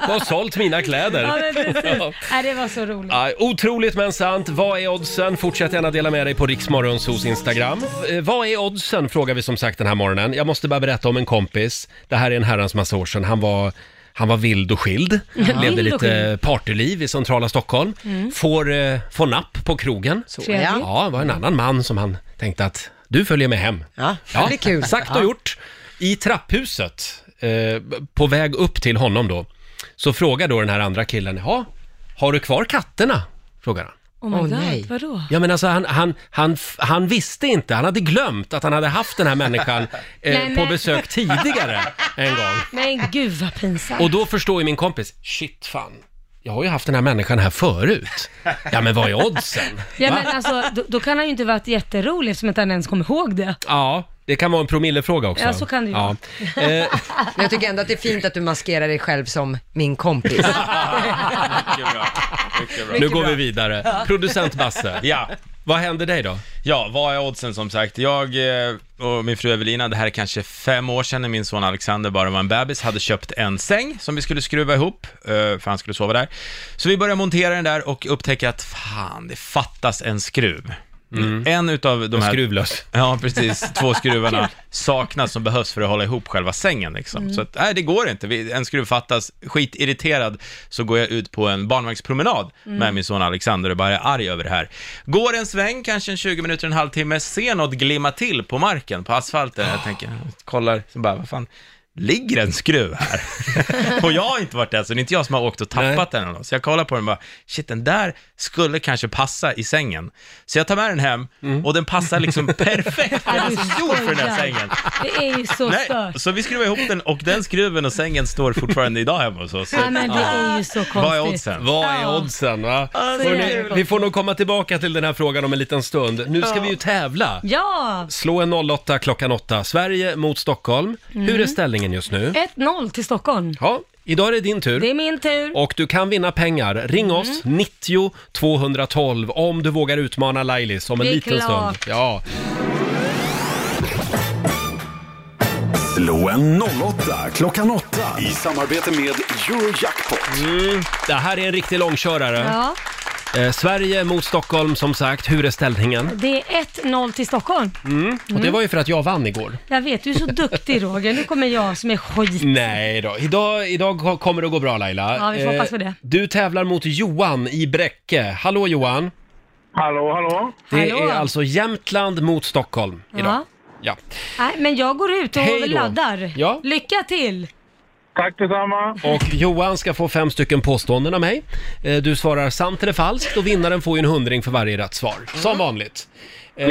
A: Du har sålt mina kläder.
D: Ja, men precis.
A: Ja.
D: Nej, det var så roligt.
A: Ja, otroligt men sant. Vad är oddsen? Fortsätt gärna dela med dig på Riksmorgonsos Instagram. Eh, vad är oddsen? Frågar vi som sagt den här morgonen. Jag måste bara berätta om en kompis. Det här är en herrans massa år sedan. Han var han var vild och skild, levde
D: Vild och Mm.
A: lite partyliv i centrala Stockholm, får, eh, får napp på krogen.
D: Trevligt.
A: Ja, det var en annan man som han tänkte att du följer med hem.
B: Ja, det är kul.
A: Sagt och gjort. I trapphuset eh, på väg upp till honom då, så frågar då den här andra killen, ja, har du kvar katterna? Frågar han.
D: Oh my
B: Åh,
D: god,
B: nej.
D: vadå?
A: Ja men alltså han, han, han, f- han visste inte, han hade glömt att han hade haft den här människan eh,
D: Nej,
A: på
D: men-
A: besök tidigare en gång.
D: Men gud vad pinsamt.
A: Och då förstår ju min kompis, shit fan, jag har ju haft den här människan här förut. Ja men vad är oddsen?
D: Ja
A: Va?
D: men alltså, då, då kan han ju inte varit jätterolig eftersom inte han ens kommer ihåg det.
A: Ja, det kan vara en promillefråga också.
D: Ja, så kan det ju
A: ja. Eh,
B: Men jag tycker ändå att det är fint att du maskerar dig själv som min kompis.
G: Mycket bra. Mycket bra.
A: Nu går vi vidare. Producent Basse,
G: Ja.
A: vad händer dig då?
G: Ja, vad är oddsen som sagt? Jag eh, och min fru Evelina, det här är kanske fem år sedan när min son Alexander bara var en bebis, hade köpt en säng som vi skulle skruva ihop, eh, för han skulle sova där. Så vi började montera den där och upptäckte att fan, det fattas en skruv. En utav de
A: Mm. En
G: här...
A: Skruvlös.
G: Ja, precis. Två skruvarna saknas som behövs för att hålla ihop själva sängen. Liksom.
A: Mm.
D: Mm.
G: Så att, nej, det går inte. Vi- En skruv fattas. Skitirriterad så går jag ut på en barnvagnspromenad
D: Mm.
G: med min son Alexander och bara är arg över det här. Går en sväng, kanske en 20 minuter, en halvtimme, ser något glimma till på marken, på asfalten. Jag tänker, kollar, så bara, vad fan. Ligger en skruv här? och jag har inte varit där, så det är inte jag som har åkt och tappat den eller något. Så jag kollar på den och bara, shit den där skulle kanske passa i sängen. Så jag tar med den hem
D: Mm.
G: och den passar liksom perfekt. Den är alltså gjord för den här sängen.
D: Det är ju så
G: Nej,
D: stört.
G: så vi skruvar ihop den och den skruven och sängen står fortfarande idag hemma hos oss. Så,
D: Ja, men det är ju så
G: Vad är
D: konstigt.
G: oddsen?
A: Vad är
D: Ja.
A: oddsen va?
D: så
A: Hörrni,
D: jävla
A: vi får nog komma tillbaka till den här frågan om en liten stund. Nu ska vi ju tävla.
D: Ja!
A: Slå en 08 klockan 8. Sverige mot Stockholm. Hur
D: Mm.
A: är ställningen just nu?
D: 1-0 till Stockholm.
A: Ja, idag är det din tur.
D: Det är min tur.
A: Och du kan vinna pengar. Ring
D: Mm.
A: oss, 90 212, om du vågar utmana Lailis om en
D: Det är
A: liten
D: klart.
A: stund. Ja.
C: Slå en 08 klockan 8 i samarbete med Eurojackpot.
A: Mm, Det här är en riktig långkörare.
D: Ja,
A: Eh, Sverige mot Stockholm, som sagt. Hur är ställningen? Mm.
D: det är 1-0 till Stockholm.
A: Och
D: Mm.
A: det var ju för att jag vann igår.
D: Jag vet, du är så duktig Roger. Nu kommer jag som är skit.
A: Nej då. Idag, idag ko- kommer det gå bra Laila. Eh,
D: Ja, vi får hoppas på det.
A: Du tävlar mot Johan i Bräcke. Hallå Johan!
F: Hallå, hallå.
A: Det
D: Hallå.
A: är alltså Jämtland mot Stockholm idag.
D: Ja.
A: Ja.
D: Nej, men jag går ut och
A: Hej då.
D: laddar.
A: Ja.
D: Lycka till!
F: Tack detsamma.
A: Och Johan ska få fem stycken påståenden av mig. Eh, Du svarar sant eller falskt och vinnaren får ju en hundring för varje rätt svar.
F: Mm.
A: Som vanligt. Eh,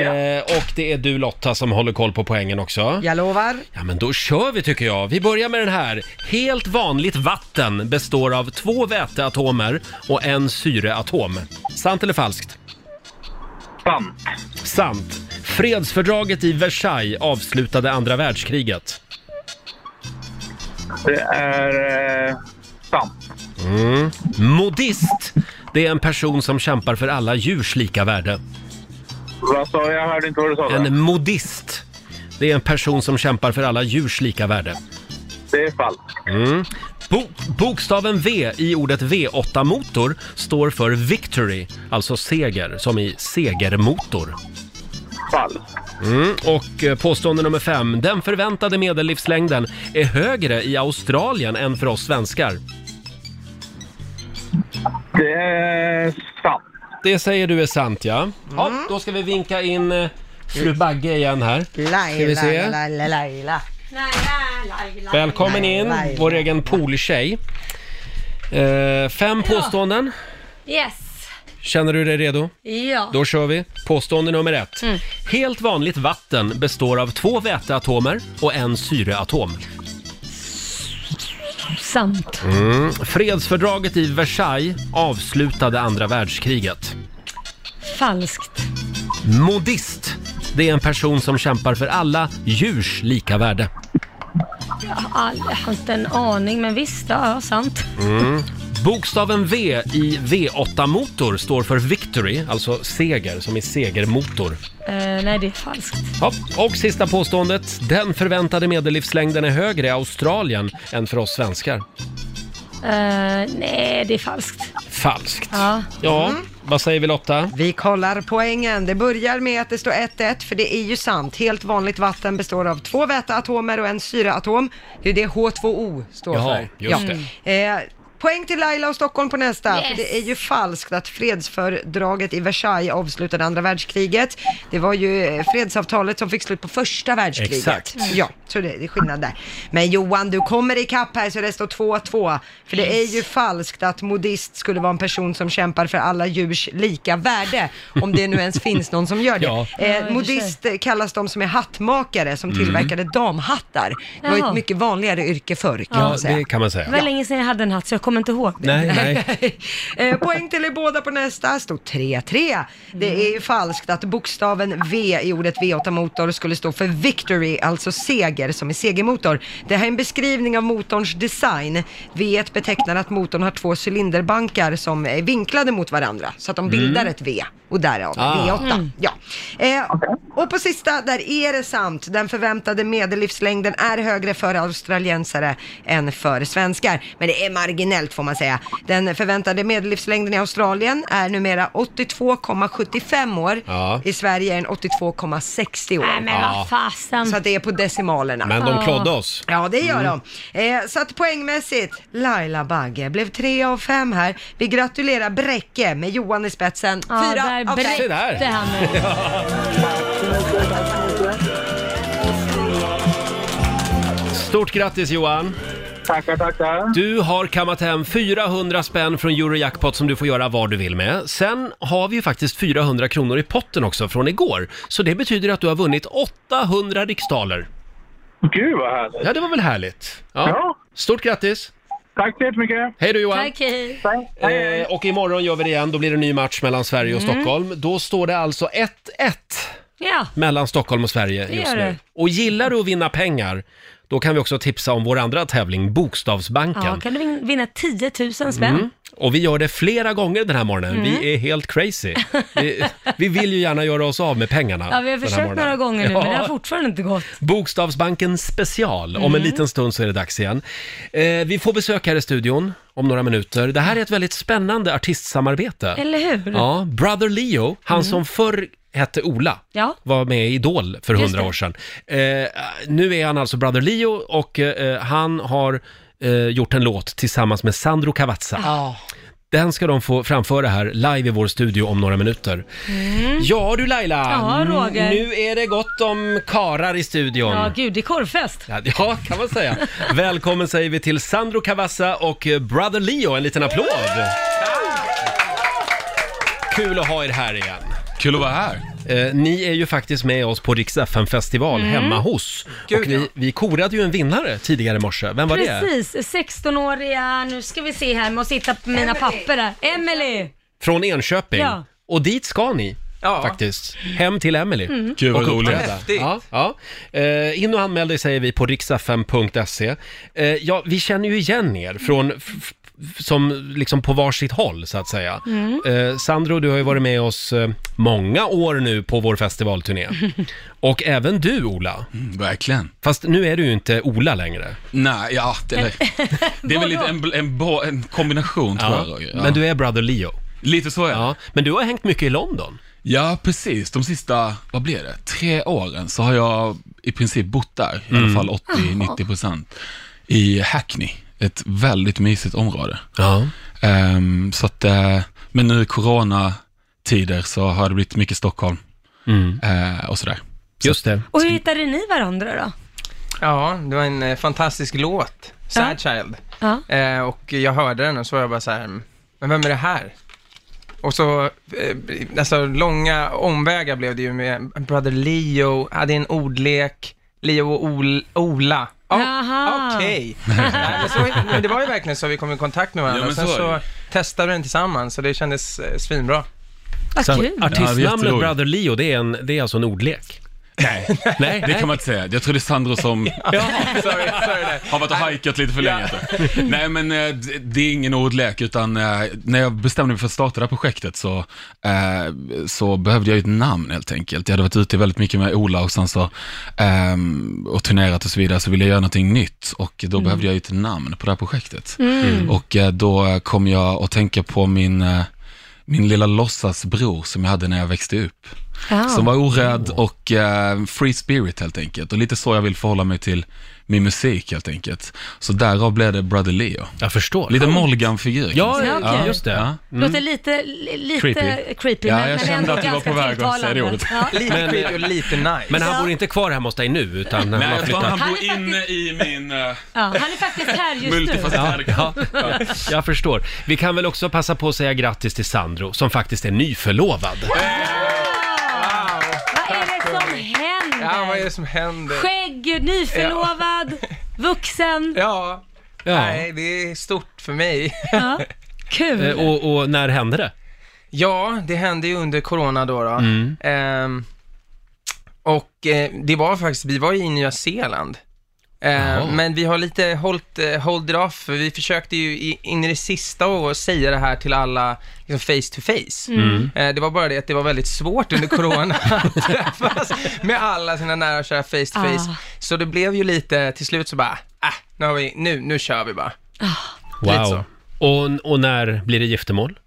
A: och det är du Lotta som håller koll på poängen också.
B: Jag lovar.
A: Ja, men då kör vi tycker jag. Vi börjar med den här. Helt vanligt vatten består av två väteatomer och en syreatom. Sant eller falskt?
F: Sant.
A: Sant. Fredsfördraget i Versailles avslutade andra världskriget.
F: Det är eh, sant.
A: Modist, Mm. det är en person som kämpar för alla djurs lika värde.
F: Vad sa jag? Jag hörde inte vad du sa. där.
A: En modist, det är en person som kämpar för alla djurs lika värde. Mm.
F: Det är falskt.
A: Bo bokstaven V i ordet V8-motor står för victory, alltså seger, som i segermotor.
F: Falskt.
A: Och eh, påstående nummer fem. Den förväntade medellivslängden är högre i Australien än för oss svenskar.
F: Det är sant. Mm.
A: Det säger du är sant, ja. Ja, då ska vi vinka in eh, fru Bagge igen här. Ska vi se.
B: Laila, Laila.
A: Välkommen in,
B: nej,
A: vår egen pooltjej. Eh, Fem påståenden.
D: Yes!
A: Känner du dig redo?
D: Ja.
A: Då kör vi. Påstående nummer ett. Helt vanligt vatten består av två väteatomer och en syreatom.
D: Sant.
A: Mm. Fredsfördraget i Versailles avslutade andra världskriget.
D: Falskt.
A: Modist. Det är en person som kämpar för alla djurs lika värde.
D: Jag har aldrig haft en aning, men visst, ja, ja sant.
A: Bokstaven V i V8-motor står för victory, alltså seger, som i segermotor.
D: Eh, nej, det är falskt.
A: Ja, och sista påståendet. Den förväntade medellivslängden är högre i Australien än för oss svenskar.
D: Eh, nej, det är falskt.
A: Falskt.
D: Ja.
A: Ja, vad säger vi Lotta?
B: Vi kollar poängen. Det börjar med att det står 1-1, för det är ju sant. Helt vanligt vatten består av två väteatomer och en syreatom. Det är det H2O står
A: Jaha,
B: för.
A: just det.
B: Eh, Poäng till Laila och Stockholm på nästa.
D: Yes.
B: För det är ju falskt att fredsfördraget i Versailles avslutade andra världskriget. Det var ju eh, fredsavtalet som fick slut på första världskriget.
A: Exakt.
B: Ja, så det det är skillnad där. Men Johan, du kommer ikapp här så det står 2-2. För det är ju falskt att modist skulle vara en person som kämpar för alla djurs lika värde. Om det nu ens finns någon som gör det.
A: Ja.
D: Ja, i och för
B: Eh,
D: sig.
B: modist eh, kallas de som är hattmakare som tillverkade damhattar. Det var ju ett
D: Jaha.
B: mycket vanligare yrke förr kan
A: Mm. Ja,
B: man säga.
A: det kan man
D: Det
A: säga.
D: var länge sedan jag hade en hatt så jag kommer inte ihåg det.
A: Nej, nej.
B: Eh, Poäng till er båda på nästa, stod 3-3.
A: Mm.
B: Det är ju falskt att bokstaven V i ordet V8-motor skulle stå för victory, alltså seger, som är segermotor. Det här är en beskrivning av motorns design. V1 betecknar att motorn har två cylinderbankar som är vinklade mot varandra, så att de bildar ett V, och därav
A: Mm. Ah.
B: V8. Ja. Eh, och på sista, där är det sant. Den förväntade medellivslängden är högre för australiensare än för svenskar. Men det är marginellt får man säga. Den förväntade medellivslängden i Australien är numera 82,75 år.
A: Ja.
B: I Sverige är den 82,60 år.
D: Nej men vad fasen.
B: Så att det är på decimalerna.
A: Men de klådde oss. Mm.
B: Ja, det gör de. Eh, så att poängmässigt, Laila Bagge blev tre av fem här. Vi gratulerar Bräcke med Johan i spetsen.
D: Ja,
B: Fyra
D: där
B: av fem.
A: Se där.
D: bräckte han
B: Mm.
D: mig.
A: Stort grattis Johan!
F: Tackar, tackar.
A: Du har kammat hem 400 spänn från Eurojackpot som du får göra vad du vill med. Sen har vi ju faktiskt 400 kronor i potten också från igår. Så det betyder att du har vunnit 800 riksdaler.
F: Gud vad härligt.
A: Ja, det var väl härligt?
F: Ja.
A: Stort grattis!
F: Tack så jättemycket.
A: Hej då Johan!
D: Tack, hej. Mm.
A: Eh, och imorgon gör vi det igen, då blir det en ny match mellan Sverige och Stockholm. Då står det alltså 1-1
D: Ja,
A: mellan Stockholm och Sverige
D: Det
A: just
D: gör
A: nu.
D: det.
A: Och gillar du att vinna pengar, då kan vi också tipsa om vår andra tävling, Bokstavsbanken.
D: ja kan du vin- vinna 10 000 spänn?
A: Mm.
D: Mm.
A: Och vi gör det flera gånger den här morgonen. Vi är helt crazy. Vi, vi vill ju gärna göra oss av med pengarna.
D: Ja, vi har
A: den här
D: försökt
A: morgonen.
D: några gånger nu, men det har
A: Ja.
D: fortfarande inte gått. Mm.
A: Bokstavsbanken special. Om en liten stund så är det dags igen. Eh, vi får besök här i studion om några minuter. Det här är ett väldigt spännande artistsamarbete.
D: Eller hur? Mm.
A: Ja, Brother Leo, han som förr hette Ola,
D: Ja.
A: var med i Idol för
D: Just
A: hundra
D: det.
A: år sedan. Eh, nu är han alltså Brother Leo och eh, han har eh, gjort en låt tillsammans med Sandro Cavazza.
B: Ja.
A: Den ska de få framföra här live i vår studio om några minuter. Ja du Laila,
D: Mm. Ja, Roger.
A: nu är det gott om karar i studion.
D: Ja,
A: Ja.
D: gud, det är korvfest.
A: Ja, kan man säga. Välkommen säger vi till Sandro Cavazza och eh, Brother Leo. En liten applåd! Kul att ha er här igen.
G: Kul att vara här.
A: Eh, ni är ju faktiskt med oss på Rix festival
G: Mm.
A: hemma hos. och vi, vi korade ju en vinnare tidigare i morse. Vem var det?
D: Precis, 16-åriga, nu ska vi se här, måste hitta på mina papper där. Emily.
A: Från Enköping.
D: Ja.
A: Och dit ska ni.
J: Ja.
A: Faktiskt. Hem till Emily.
G: Gud vad
A: och
G: roligt.
A: uppträda.
J: Häftigt.
A: Ja, ja. Eh, in och anmäl dig säger vi på riksfm.se. Eh, ja, vi känner ju igen er från f- f- som liksom på varsitt håll så att säga.
J: Mm.
A: Eh, Sandro, du har ju varit med oss eh, många år nu på vår festivalturné. Och även du Ola,
J: Mm, verkligen.
A: fast nu är du ju inte Ola längre.
J: Nej, ja, det, eller, det är väl lite en, en, bo- en kombination tror jag, Roger. ja.
A: Men du är Brother Leo.
J: Lite så är det. Ja.
A: Ja. Men du har hängt mycket i London.
J: precis. De sista, vad blir det, tre åren så har jag i princip bott där, i
A: Mm.
J: alla fall 80-90 procent, i Hackney. Ett väldigt mysigt område.
A: Ja.
J: Ehm, så att, eh, men nu i coronatider så har det blivit mycket Stockholm eh, och sådär.
A: Mm. Just det.
D: Och hur hittade ni varandra då?
J: Ja,
K: Det var en eh, fantastisk låt, Sad Child.
D: Ja.
K: Eh, och jag hörde den och så var jag bara så här, men vem är det här? Och så, eh, alltså långa omvägar blev det ju med Brother Leo, hade en ordlek, Leo och Ol- Ola. Oh,
D: Jaha.
K: Okej. Nej, men så- men det var ju verkligen så vi kom i kontakt med varandra.
J: Ja, men
K: och Sen
J: så
K: så,
J: är det.
K: testade vi den tillsammans så det kändes eh, svinbra.
D: Vad
A: Så
D: kul.
J: Ja,
A: artistnamnet
J: jätteroligt.
A: Brother Leo, det är, en, det är alltså en ordlek?
J: nej,
A: Nej.
J: det kan man inte säga. Jag tror det är Sandro som
K: Sorry, sorry där.
J: Har varit och hajkat lite för länge. tror jag. Nej men eh, det- det är ingen ordlek utan eh, när jag bestämde mig för att starta det här projektet så, eh, så behövde jag ju ett namn helt enkelt. Jag hade varit ute väldigt mycket med Ola och sen så, ehm, och turnerat och så vidare, så ville jag göra någonting nytt och då behövde jag ju ett namn på det här projektet. Och eh, då kom jag att tänka på min, eh, min lilla låtsasbror som jag hade när jag växte upp.
D: Ja.
J: Som var orädd och eh, free spirit helt enkelt. Och lite så jag vill förhålla mig till min musik helt enkelt. Så därav blev det Brother Leo.
A: Jag förstår.
J: Lite Molgan-figur. kan man
D: Ja,
J: säga.
D: okej. just det. Mm.
J: Ja.
A: Mm.
D: Låter lite, li- lite creepy,
J: Ja, jag
D: men, men
J: kände
D: ändå
J: att du var
D: ganska
J: på väg att säga det
D: tilltalande.
J: ordet.
D: Ja.
K: Lite creepy och lite nice.
A: Men han
D: Ja.
A: bor inte kvar hemma hos dig nu utan han
J: Nej,
A: har
J: jag tror
A: flyttat.
J: han bor inne i min... eh,
D: Ja, han är faktiskt här just
A: Ja,
D: nu.
A: ja, jag förstår. Vi kan väl också passa på att säga grattis till Sandro som faktiskt är nyförlovad.
D: Vad är det som händer?
K: Ja, vad är det som händer?
D: Skägg, nyförlovad, vuxen.
K: Ja.
A: Ja.
K: Nej, det är stort för mig.
D: Ja. Kul.
A: Eh, Och, och när hände det?
K: Ja, det hände ju under corona då. då.
A: Mm.
K: Ehm, och eh, det var faktiskt, vi var i Nya Zeeland. Ehm,
A: Jaha.
K: men vi har lite hållit, eh, hold it off, för vi försökte ju i, in i det sista att säga det här till alla liksom face to face.
A: Mm.
K: Eh, det var bara det att det var väldigt svårt under corona att träffas med alla sina nära och kära face to face.
D: Ah.
K: Så det blev ju lite, till slut så bara, ah, nu, har vi, nu, nu kör vi bara. Lite
A: Wow.
K: så.
A: Och, och när blir det giftermål?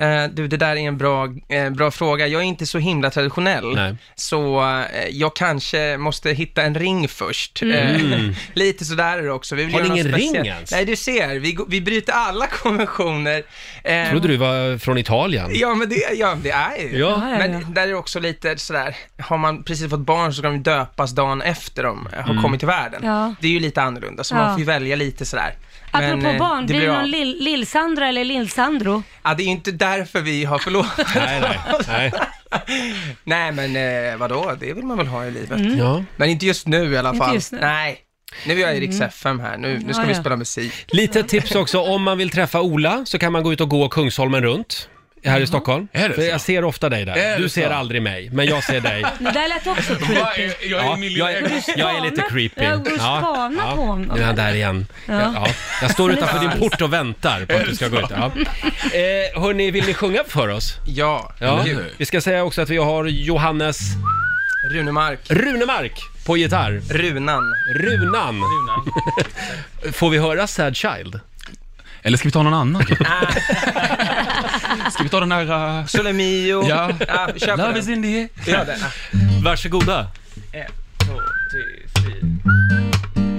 K: Eh, du, det där är en bra, eh, bra fråga. Jag är inte så himla traditionell,
A: Nej.
K: så eh, jag kanske måste hitta en ring först.
A: Mm.
K: Eh, lite sådär är det också. Vi vill
A: Har ni
K: göra
A: ingen
K: något
A: ring
K: speciellt.
A: ens?
K: Nej, du ser. Vi, go- vi bryter alla konventioner. Eh,
A: Trodde du var från Italien?
K: Ja, men det, ja, det är ju.
A: Ja. Ja, ja,
K: Men
A: ja.
K: där är det också lite sådär, har man precis fått barn så kan de ju döpas dagen efter de eh, har
A: Mm.
K: kommit till världen.
D: Ja.
K: Det är ju lite annorlunda, så
D: Ja.
K: man får ju välja lite sådär. Men,
D: Apropå
K: eh,
D: barn, blir det
K: av.
D: någon lill- Lill-Sandra eller Lill-Sandro?
K: Ja, det är ju inte därför vi har förlovat
A: Nej, nej, nej.
K: Nej, men eh, vadå, det vill man väl ha i livet.
D: Mm.
A: Ja.
K: Men inte just nu i alla
D: Inte
K: fall.
D: just nu.
K: Nej, nu är jag i Rix
A: Mm.
K: FM här, nu, nu ska
A: Ja,
K: vi
A: ja.
K: spela musik.
A: Lite tips också, om man vill träffa Ola så kan man gå ut och gå Kungsholmen runt.
K: Mm.
A: Här i Stockholm.
J: Är det
A: För
J: så?
A: jag ser ofta dig
J: Är
A: där.
J: det
A: Du ser
J: så?
A: aldrig mig, men jag ser dig.
D: Det där lät också creepy.
J: Jag
A: Ja, jag, är, jag är lite creepy.
D: Jag går och spanar på honom.
A: Nu är han där igen.
D: Ja.
A: Ja. Ja. Jag står utanför din port och väntar på att du ska gå ut. Ja. Eh, hörni, vill ni sjunga för oss?
K: Ja,
A: Ja.
K: Gud.
A: Vi ska säga också att vi har Johannes
K: Runemark.
A: Runemark på gitarr.
K: Runan.
A: Runan. Får vi höra Sad Child?
J: Eller ska vi ta någon annan? ska vi ta den här... Uh...
K: Sole mio.
J: Ja.
K: Ja, kör på
J: Love
K: den.
J: is in the air.
K: Ja, den.
A: Varsågoda.
K: Ett, två, tre, fyra.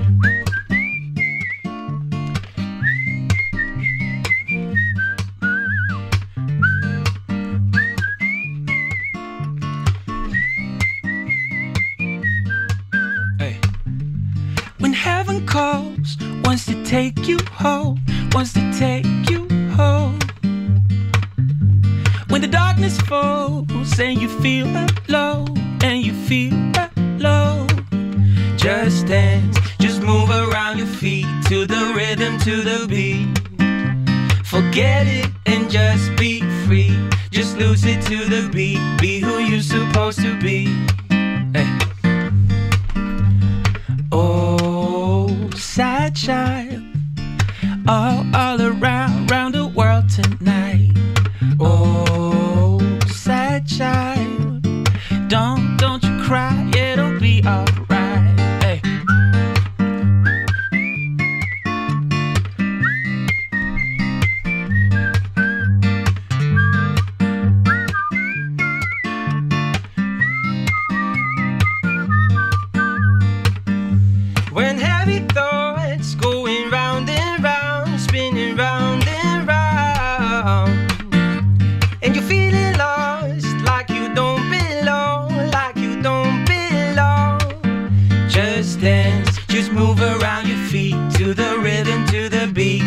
L: When heaven calls, wants to take you home, wants to take you home. When the darkness falls and you feel alone, and you feel alone, just dance, just move around your feet to the rhythm, to the beat. Forget it and just be free. Just lose it to the beat. Be who you're supposed to be. Hey. Oh, sad child, all, all around, round the world tonight. Oh, sad child, don't, don't you cry, it'll be alright. Hey.
K: When heavy thoughts going round and round, spinning round and round, and you're feeling lost, like you don't belong, like you don't belong.
L: Just dance, just move around your feet to the rhythm, to the beat.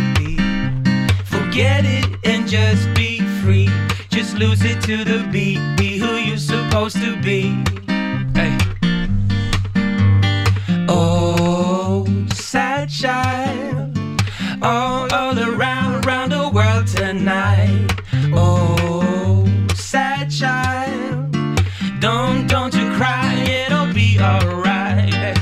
L: Forget it and just be free. Just lose it to the beat. Be who you're supposed to be. Hey. Oh, sad child, all, all around, around the world tonight. Oh, sad child, don't, don't you cry, it'll be alright. Hey.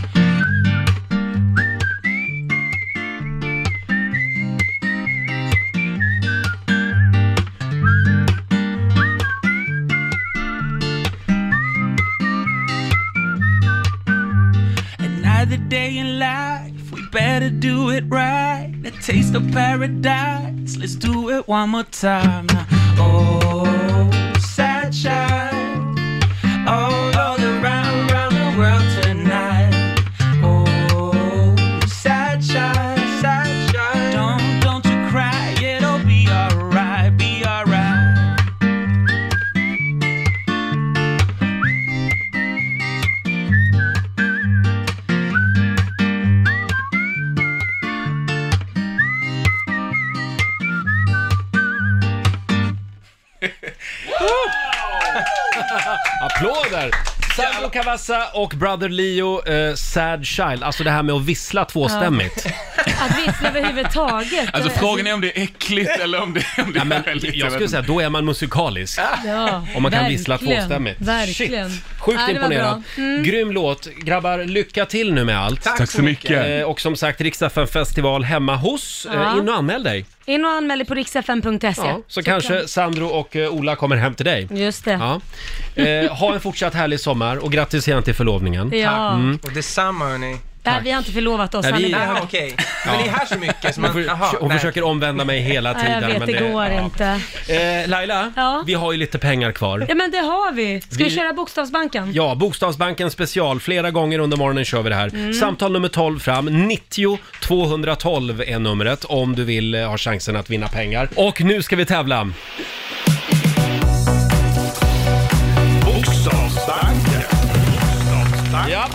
L: Another day in life, we better do it right. The taste of paradise, let's do it one more time. Now. Oh, sad child, all, all around, around the world tonight. Oh,
A: applåder! Sandro Cavazza och Brother Leo, eh, Sad Child. Alltså det här med att vissla tvåstämmigt.
D: Att vissla överhuvudtaget.
J: Alltså frågan är om det är äckligt eller om det, om det
A: Ja, men,
J: är väldigt...
A: jag skulle
J: vet
A: säga,
J: inte.
A: då är man musikalisk.
D: Ja,
A: Om man kan vissla
D: verkligen,
A: tvåstämmigt.
D: Verkligen.
A: Sjukt
D: Ja, det var
A: imponerad.
D: bra. Mm.
A: Grym låt. Grabbar, lycka till nu med allt.
D: Tack så mycket.
A: Eh, Och som sagt, Riksdagen festival hemma hos. Eh,
D: Ja.
A: In och anmäl dig.
D: In och anmäl dig på riksfm.se.
A: Ja, så, kanske Sandro och eh, Ola kommer hem till dig.
D: Just det. Äh,
A: Ja. Eh, ha en fortsatt härlig sommar och grattis igen till förlovningen.
D: Ja.
A: Mm.
K: Och detsamma hörni.
D: Nej, vi har inte förlovat oss.
A: Nej,
D: han
A: vi-
D: är
A: Ah,
D: bra.
K: Okej,
A: Ja.
K: men ni är här så mycket så man,
A: Hon, för,
K: aha,
A: hon
K: nej.
A: försöker omvända mig hela
D: Nej,
A: tiden.
D: jag vet, det går
A: ja.
D: inte.
A: Eh, Laila,
D: Ja.
A: vi har ju lite pengar kvar.
D: Ja men det har vi. Ska vi,
A: Vi-
D: köra Bokstavsbanken?
A: Ja, Bokstavsbanken special. Flera gånger under morgonen kör vi det här.
D: Mm.
A: Samtal nummer 12 fram. 90 212 är numret om du vill eh, ha chansen att vinna pengar. Och nu ska vi tävla.
C: Bokstavsbanken.
A: Ja.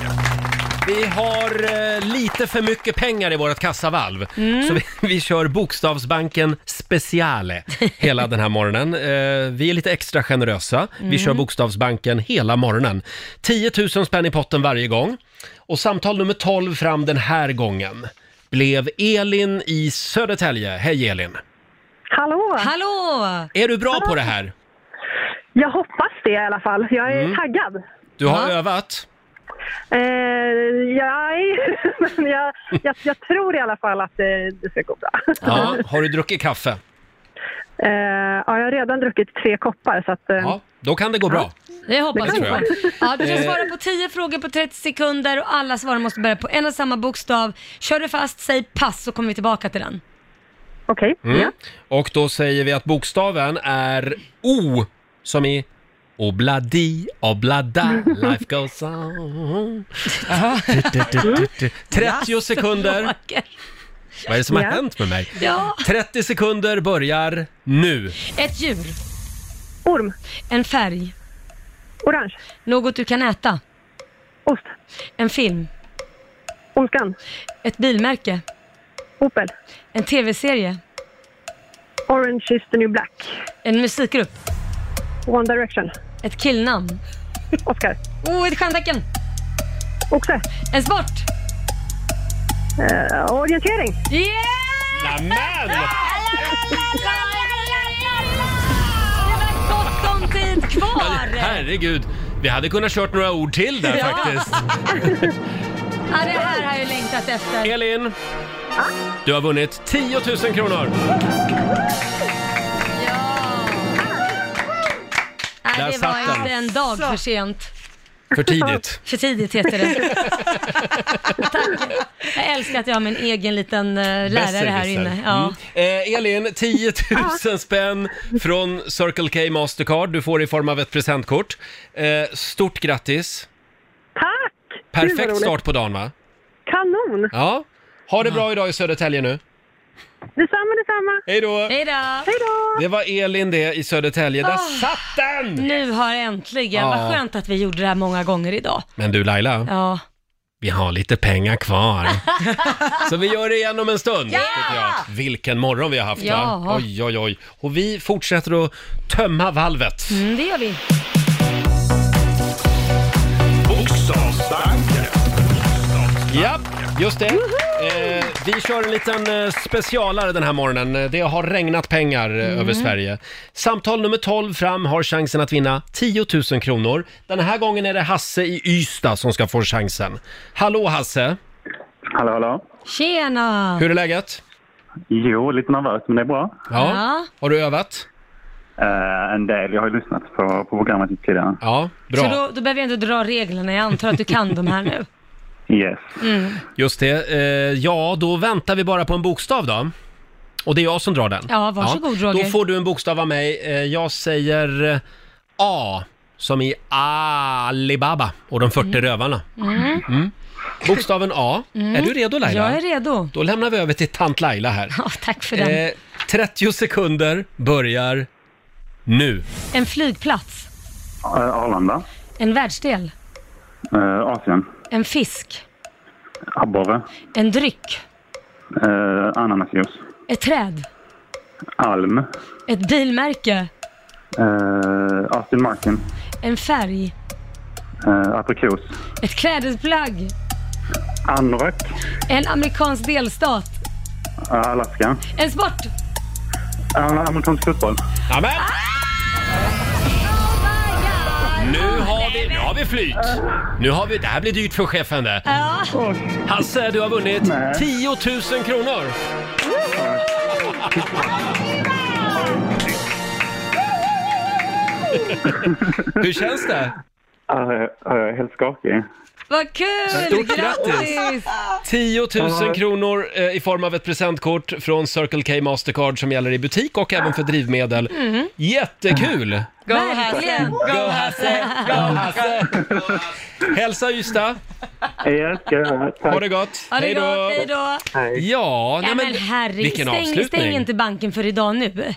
A: Vi har eh, lite för mycket pengar i vårt kassavalv.
C: Mm.
A: Så vi, vi kör Bokstavsbanken Speciale hela den här morgonen. Eh, vi är lite extra generösa. Vi
C: Mm.
A: kör Bokstavsbanken hela morgonen. 10 000 spänn i potten varje gång. Och samtal nummer 12 fram den här gången blev Elin i Södertälje. Hej Elin!
M: Hallå!
D: Hallå!
A: Är du bra på det här?
M: Jag hoppas det i alla fall. Jag är
A: Mm.
M: taggad.
A: Du har övat?
M: Eh, nej, men jag, jag, jag tror i alla fall att det, det ska gå bra.
A: Ja. Har du druckit kaffe?
M: Eh, ja, jag har redan druckit tre koppar så att... eh,
A: Då kan det gå bra.
D: Det hoppas
A: Det
D: vi
A: tror
D: på.
A: jag.
D: Ja, du ska
A: Eh.
D: svara på 10 frågor på 30 sekunder och alla svar måste börja på en och samma bokstav. Kör du fast, säg pass så kommer vi tillbaka till den.
M: Okej.
A: Mm. Och då säger vi att bokstaven är O som i Obladi, oblada, life goes on. Du, Mm. du, du, du, du. 30 sekunder. Vad är det som har
D: Mm. Ja.
A: hänt med mig?
D: Ja.
A: 30 sekunder börjar nu.
D: Ett djur.
M: Orm.
D: En färg.
M: Orange.
D: Något du kan äta.
M: Ost.
D: En film.
M: Ondskan.
D: Ett bilmärke.
M: Opel.
D: En tv-serie.
M: Orange is the new black.
D: En musikgrupp.
M: One Direction.
D: Ett killnamn.
M: Oscar.
D: Oh, ett stjärntecken.
M: Oxe.
D: En sport.
M: Eh, orientering.
D: Yeah!
A: Nämen!
D: Gott om tid kvar!
A: Herregud, vi hade kunnat kört några ord till där
D: Ja.
A: faktiskt.
D: Ja, det här har jag längtat efter.
A: Elin! Du har vunnit 10 000 kronor.
D: Nej,
A: Där
D: det
A: satt
D: var
A: den.
D: inte en dag för sent.
A: För tidigt.
D: För tidigt heter det. Tack. Jag älskar att jag har min egen liten eh, lärare här
A: Besserwisser.
D: inne. Ja.
A: Mm. Eh, Elin, 10 000 spänn från Circle K Mastercard. Du får i form av ett presentkort. Eh, stort grattis!
M: Tack! Gud, vad
A: Perfekt
M: roligt.
A: start på dagen va?
M: Kanon!
A: Ja. Ha det bra idag i Södertälje nu.
M: Detsamma, detsamma.
A: Hej då!
D: Hej då! Hej
M: då!
A: Det var Elin det i Södertälje. Där
D: Ah.
A: satt den!
D: Nu har jag äntligen,
A: Ja.
D: vad skönt att vi gjorde det här många gånger idag.
A: Men du Laila,
D: Ja.
A: vi har lite pengar kvar. Så vi gör det igen om en stund.
D: Ja!
A: tycker jag. Vilken morgon vi har haft va?
D: Ja.
A: Oj, oj, oj. Och vi fortsätter att tömma valvet.
D: Mm, det gör vi.
C: Bokstavsbanken.
A: Ja, just det. Eh, vi kör en liten eh, specialare den här morgonen. Eh, Det har regnat pengar eh,
C: Mm.
A: över Sverige. Samtal nummer 12 fram har chansen att vinna 10 000 kronor. Den här gången är det Hasse i Ystad som ska få chansen. Hallå Hasse!
N: Hallå, hallå.
D: Tjena!
A: Hur är läget?
N: Jo, lite nervöst, men det är bra.
A: Ja. Har du övat?
N: Eh, en del. Jag har ju lyssnat på, på programmet lite tidigare.
A: Ja,
D: Så då, då behöver jag inte dra reglerna, jag antar att du kan de här nu.
N: Yes.
D: Mm.
A: Just det. Eh, ja, då väntar vi bara på en bokstav då. Och det är jag som drar den.
D: Ja, varsågod, Roger.
A: Då får du en bokstav av mig. Eh, jag säger eh, A, som i Alibaba och de 40 rövarna.
D: Mm.
A: Mm. Bokstaven A.
D: Mm.
A: Är du redo Laila?
D: Jag är redo.
A: Då lämnar vi över till tant Laila här.
D: Ja, tack för den.
A: Eh. 30 sekunder börjar nu.
D: En flygplats,
N: Eh, Arlanda.
D: en världsdel,
N: Eh, Asien.
D: en fisk,
N: Abborre.
D: en dryck,
N: Eh, ananasjuice.
D: ett träd,
N: Alm.
D: ett bilmärke,
N: Eh, Aston Martin.
D: en färg,
N: Eh, aprikos.
D: Ett klädesplagg.
N: Anorak.
D: En amerikansk delstat.
N: Eh, Alaska.
D: En sport.
N: Eh, amerikansk fotboll.
A: Amen. Nu har vi, nu har vi flyt! Nu har vi, det här blir dyrt för chefen det. Hasse, du har vunnit 10 000 kronor!
D: Äh.
A: Hur känns det?
N: Ja, jag- jag är helt skakig.
D: Vad kul!
A: Stort
D: Grattis!
A: 10 000
N: Ja.
A: kronor eh, i form av ett presentkort från Circle K Mastercard som gäller i butik och även för drivmedel.
L: Mm.
A: Jättekul!
L: Go Hasse! Go Hasse! Go Hasse!
A: Hälsa Ystad!
N: Jag ska göra. Tack.
A: Ha det gott!
D: Ha det gott, hej då!
A: Ja,
D: Nej, men herregud,
A: vilken
D: stäng,
A: avslutning.
D: stäng inte banken för idag nu.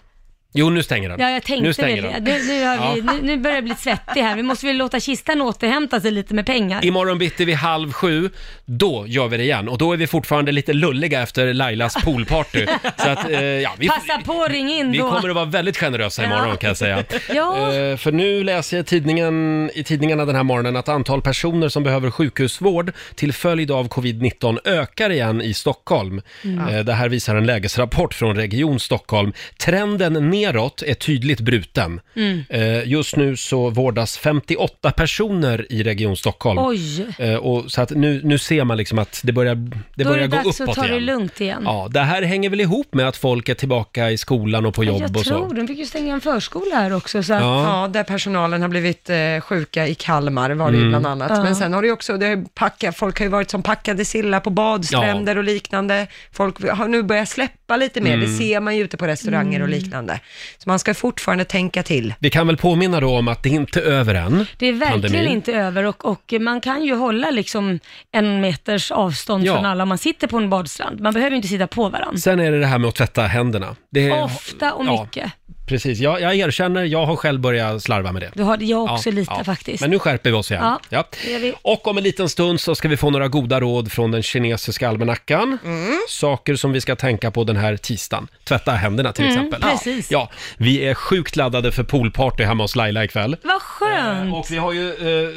A: Jo, nu stänger den.
D: Ja, jag tänkte
A: nu stänger
D: det.
A: den.
D: Nu, nu, har vi,
A: Ja.
D: nu, nu börjar jag bli svettig här. Vi måste väl låta kistan återhämta sig lite med pengar.
A: Imorgon bitti vid halv sju, då gör vi det igen. Och då är vi fortfarande lite lulliga efter Lailas poolparty. Så att, eh, ja, vi,
D: Passa på, ring in
A: vi
D: då.
A: kommer att vara väldigt generösa imorgon kan jag säga.
D: Ja.
A: Eh, för nu läser jag i tidningen, i tidningarna den här morgonen att antal personer som behöver sjukhusvård till följd av covid-19 ökar igen i Stockholm.
L: Mm.
A: Eh, det här visar en lägesrapport från Region Stockholm. Trenden neråt är tydligt bruten.
L: Mm.
A: Eh, Just nu så vårdas 58 personer i Region Stockholm.
D: Oj.
A: Eh, Och så att nu, nu ser man liksom att det börjar, det
D: då är det
A: börjar gå
D: dags att
A: uppåt
D: ta det
A: igen.
D: lugnt igen.
A: Ja, det här hänger väl ihop med att folk är tillbaka i skolan och på jobb
D: jag
A: och så.
D: tror, de fick ju stänga en förskola här också. Så att,
A: Ja.
B: Ja, där personalen har blivit eh, sjuka i Kalmar var det ju
A: Mm.
B: bland annat.
D: Ja.
B: Men sen har det ju också, det har ju packa, folk har ju varit som packade sillar på badstränder och liknande. Folk har nu börjat släppa lite mer,
A: Mm.
B: det ser man ju ute på restauranger och liknande. Så man ska fortfarande tänka till.
A: Vi kan väl påminna då om att det inte är över än.
D: Det är verkligen
A: pandemin.
D: inte över och, och man kan ju hålla liksom en meters avstånd
A: Ja.
D: från alla om man sitter på en badstrand. Man behöver ju inte sitta på varandra.
A: Sen är det det här med att tvätta händerna. Det är,
D: Ofta och
A: Eh, ja,
D: mycket.
A: Precis, jag, jag erkänner, jag har själv börjat slarva med det.
D: Du har det, jag också lite faktiskt.
A: Men nu skärper vi oss igen.
D: Ja,
A: Ja.
D: det gör vi.
A: Och om en liten stund så ska vi få några goda råd från den kinesiska almanackan.
D: Mm.
A: Saker som vi ska tänka på den här tisdagen. Tvätta händerna till
D: Mm,
A: exempel.
D: precis.
A: Ja, vi är sjukt laddade för poolparty hemma hos Laila ikväll.
D: Vad skönt!
A: Och vi har ju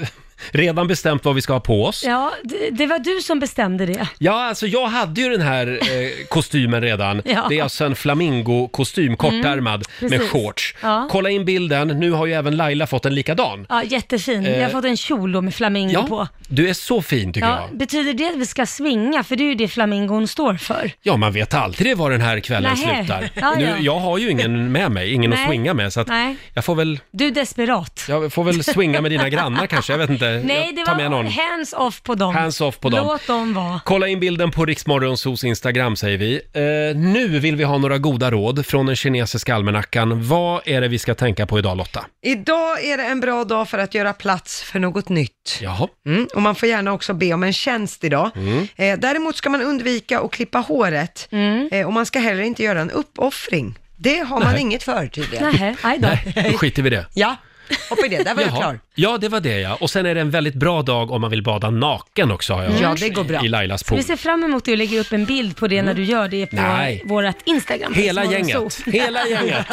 A: eh, redan bestämt vad vi ska ha på oss.
D: Ja, det, det var du som bestämde det.
A: Ja, alltså jag hade ju den här eh, kostymen redan.
D: Ja.
A: Det är alltså en flamingokostym, kortärmad,
D: Mm,
A: med
D: precis.
A: shorts.
D: Ja.
A: Kolla in bilden, nu har ju även Laila fått en likadan.
D: Ja, jättefin. Jag har
A: Eh,
D: fått en kjol då med flamingo
A: Ja,
D: på.
A: du är så fin tycker
D: Ja,
A: jag.
D: betyder det att vi ska svinga? För det är ju det flamingon står för.
A: Ja, man vet aldrig var den här kvällen
D: Nähä.
A: slutar.
D: Ja, ja.
A: Nu, jag har ju ingen med mig, ingen
D: Nej.
A: att swinga med, så att
D: Nej.
A: jag får väl,
D: Du är desperat.
A: jag får väl swinga med dina grannar kanske, jag vet inte.
D: Nej,
A: jag
D: det
A: tar med
D: var
A: någon.
D: hands off på dem.
A: Hands off på dem.
D: Låt dem vara.
A: Kolla in bilden på Riksmorgonsos Instagram säger vi. Eh, nu vill vi ha några goda råd från den kinesiska almanackan. Vad är det vi ska tänka på idag Lotta?
B: Idag är det en bra dag för att göra plats för något nytt.
A: Jaha.
B: Mm, och man får gärna också be om en tjänst idag.
A: Mm.
B: Eh, däremot ska man undvika att klippa håret
D: Mm.
B: eh, och man ska heller inte göra en uppoffring. Det har man
A: Nej.
B: inget för tydligen.
D: Nej, aj då.
A: Då skiter vi i det.
B: Ja, hoppa i det. Där var jag
A: Jaha.
B: klar.
A: Ja, det var det ja. Och sen är det en väldigt bra dag om man vill bada naken också har jag
D: Ja,
A: hört.
D: det går bra.
A: I Lailas
D: Så
A: pool.
D: vi ser fram emot att du lägger upp en bild på det när du gör det på
A: Nej.
D: vårt Instagram. Mm.
A: Hela
D: Riksmorgonzoo.
A: gänget. Hela gänget.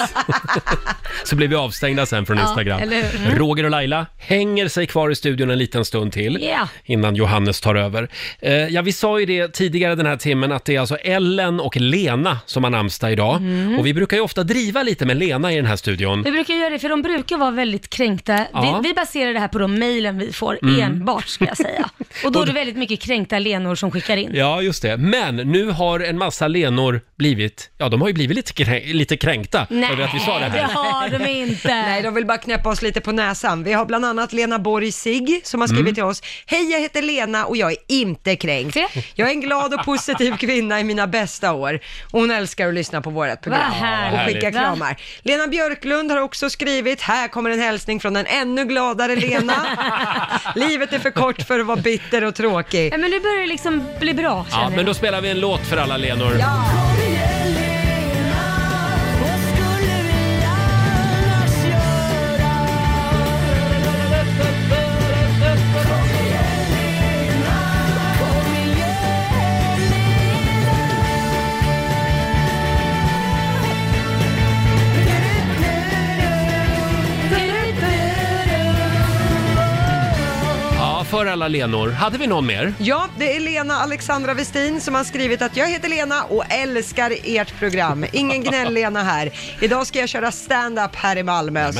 A: Så blir vi avstängda sen från
D: Ja,
A: Instagram.
D: eller hur? Mm.
A: Roger och Laila hänger sig kvar i studion en liten stund till
D: Ja.
A: innan Johannes tar över. Eh, ja, vi sa ju det tidigare den här timmen att det är alltså Ellen och Lena som har namnsdag idag.
D: Mm.
A: Och vi brukar ju ofta driva lite med Lena i den här studion.
D: Vi brukar göra det, för de brukar vara väldigt kränkta.
A: Ja.
D: Vi, vi baserar det här på de mejlen vi får
A: Mm.
D: enbart, ska jag säga. Och då är det väldigt mycket kränkta Lenor som skickar in.
A: Ja, just det. Men nu har en massa Lenor blivit, ja de har ju blivit lite, krä- lite kränkta över att vi sa det här.
D: de inte.
B: Nej, de vill bara knäppa oss lite på näsan. Vi har bland annat Lena Borg Sig som har skrivit
A: Mm.
B: till oss. Hej, jag heter Lena och jag är inte kränkt. Jag är en glad och positiv kvinna i mina bästa år. Och Hon älskar att lyssna på vårt program
D: Vad härligt.
B: och skicka
D: Va?
B: kramar. Lena Björklund har också skrivit. Här kommer en hälsning från en ännu gladare Lena. Livet är för kort för att vara bitter och tråkig.
D: Ja, men nu börjar det liksom bli bra, känner
A: Ja,
D: jag.
A: men då spelar vi en låt för alla Lenor. för alla Lenor. Hade vi någon mer?
B: Ja, det är Lena Alexandra Westin som har skrivit att jag heter Lena och älskar ert program. Ingen gnäll-Lena här. Idag ska jag köra stand-up här i Malmö så,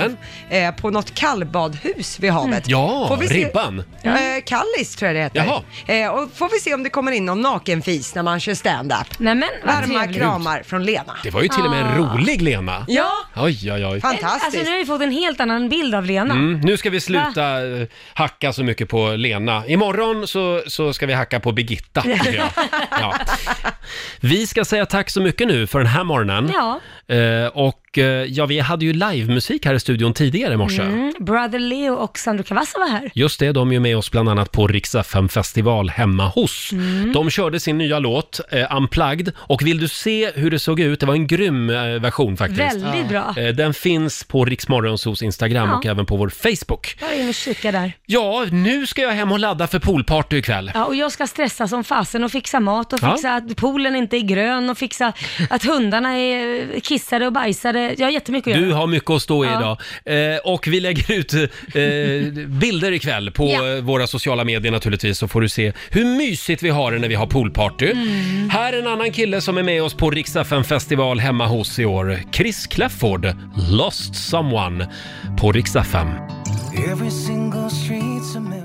A: Jajamän.
B: eh, på något kallbadhus
A: Mm.
B: vid havet.
A: Ja,
B: Får vi se-
A: Ribban.
B: Eh, Kallis tror jag det heter. Eh, och får vi se om det kommer in någon nakenfis när man kör stand-up.
D: Nämen,
A: vad
B: Varma
A: trevligt.
B: kramar från Lena.
A: Det var ju till och med en rolig Lena.
B: Ja.
A: Oj, oj, oj.
D: Ah. Alltså nu har vi fått en helt annan bild av Lena.
A: Mm, nu ska vi sluta eh, hacka så mycket på Lena. Imorgon så, så ska vi hacka på Birgitta. tycker jag. Ja. Vi ska säga tack så mycket nu för den här morgonen.
D: Ja.
A: Eh, och eh, ja, vi hade ju livemusik här i studion tidigare i morse.
D: Mm. Brother Leo och Sandro Cavazza var här.
A: Just det, de är ju med oss bland annat på Rix FM festival hemma hos.
D: Mm.
A: De körde sin nya låt, eh, Unplugged, och vill du se hur det såg ut, det var en grym eh, version faktiskt.
D: Väldigt bra.
A: Eh, den finns på Rix Morgonzos Instagram
D: Ja.
A: och även på vår Facebook.
D: Bara in och kika där.
A: Ja, nu ska jag hem och ladda för poolparty ikväll.
D: Ja, och jag ska stressa som fasen och fixa mat och
A: Ja.
D: fixa att poolen inte är grön och fixa att hundarna är kissade och bajsade. Jag har jättemycket att
A: Du
D: göra.
A: har mycket att stå i
D: Ja.
A: idag. Eh, och vi lägger ut eh, bilder ikväll på
D: Ja.
A: eh, våra sociala medier naturligtvis så får du se hur mysigt vi har det när vi har poolparty.
D: Mm.
A: Här är en annan kille som är med oss på Riksdagen festival hemma hos i år. Chris Clafford, Lost Someone på Riksdagen.
L: Every single street's a memory.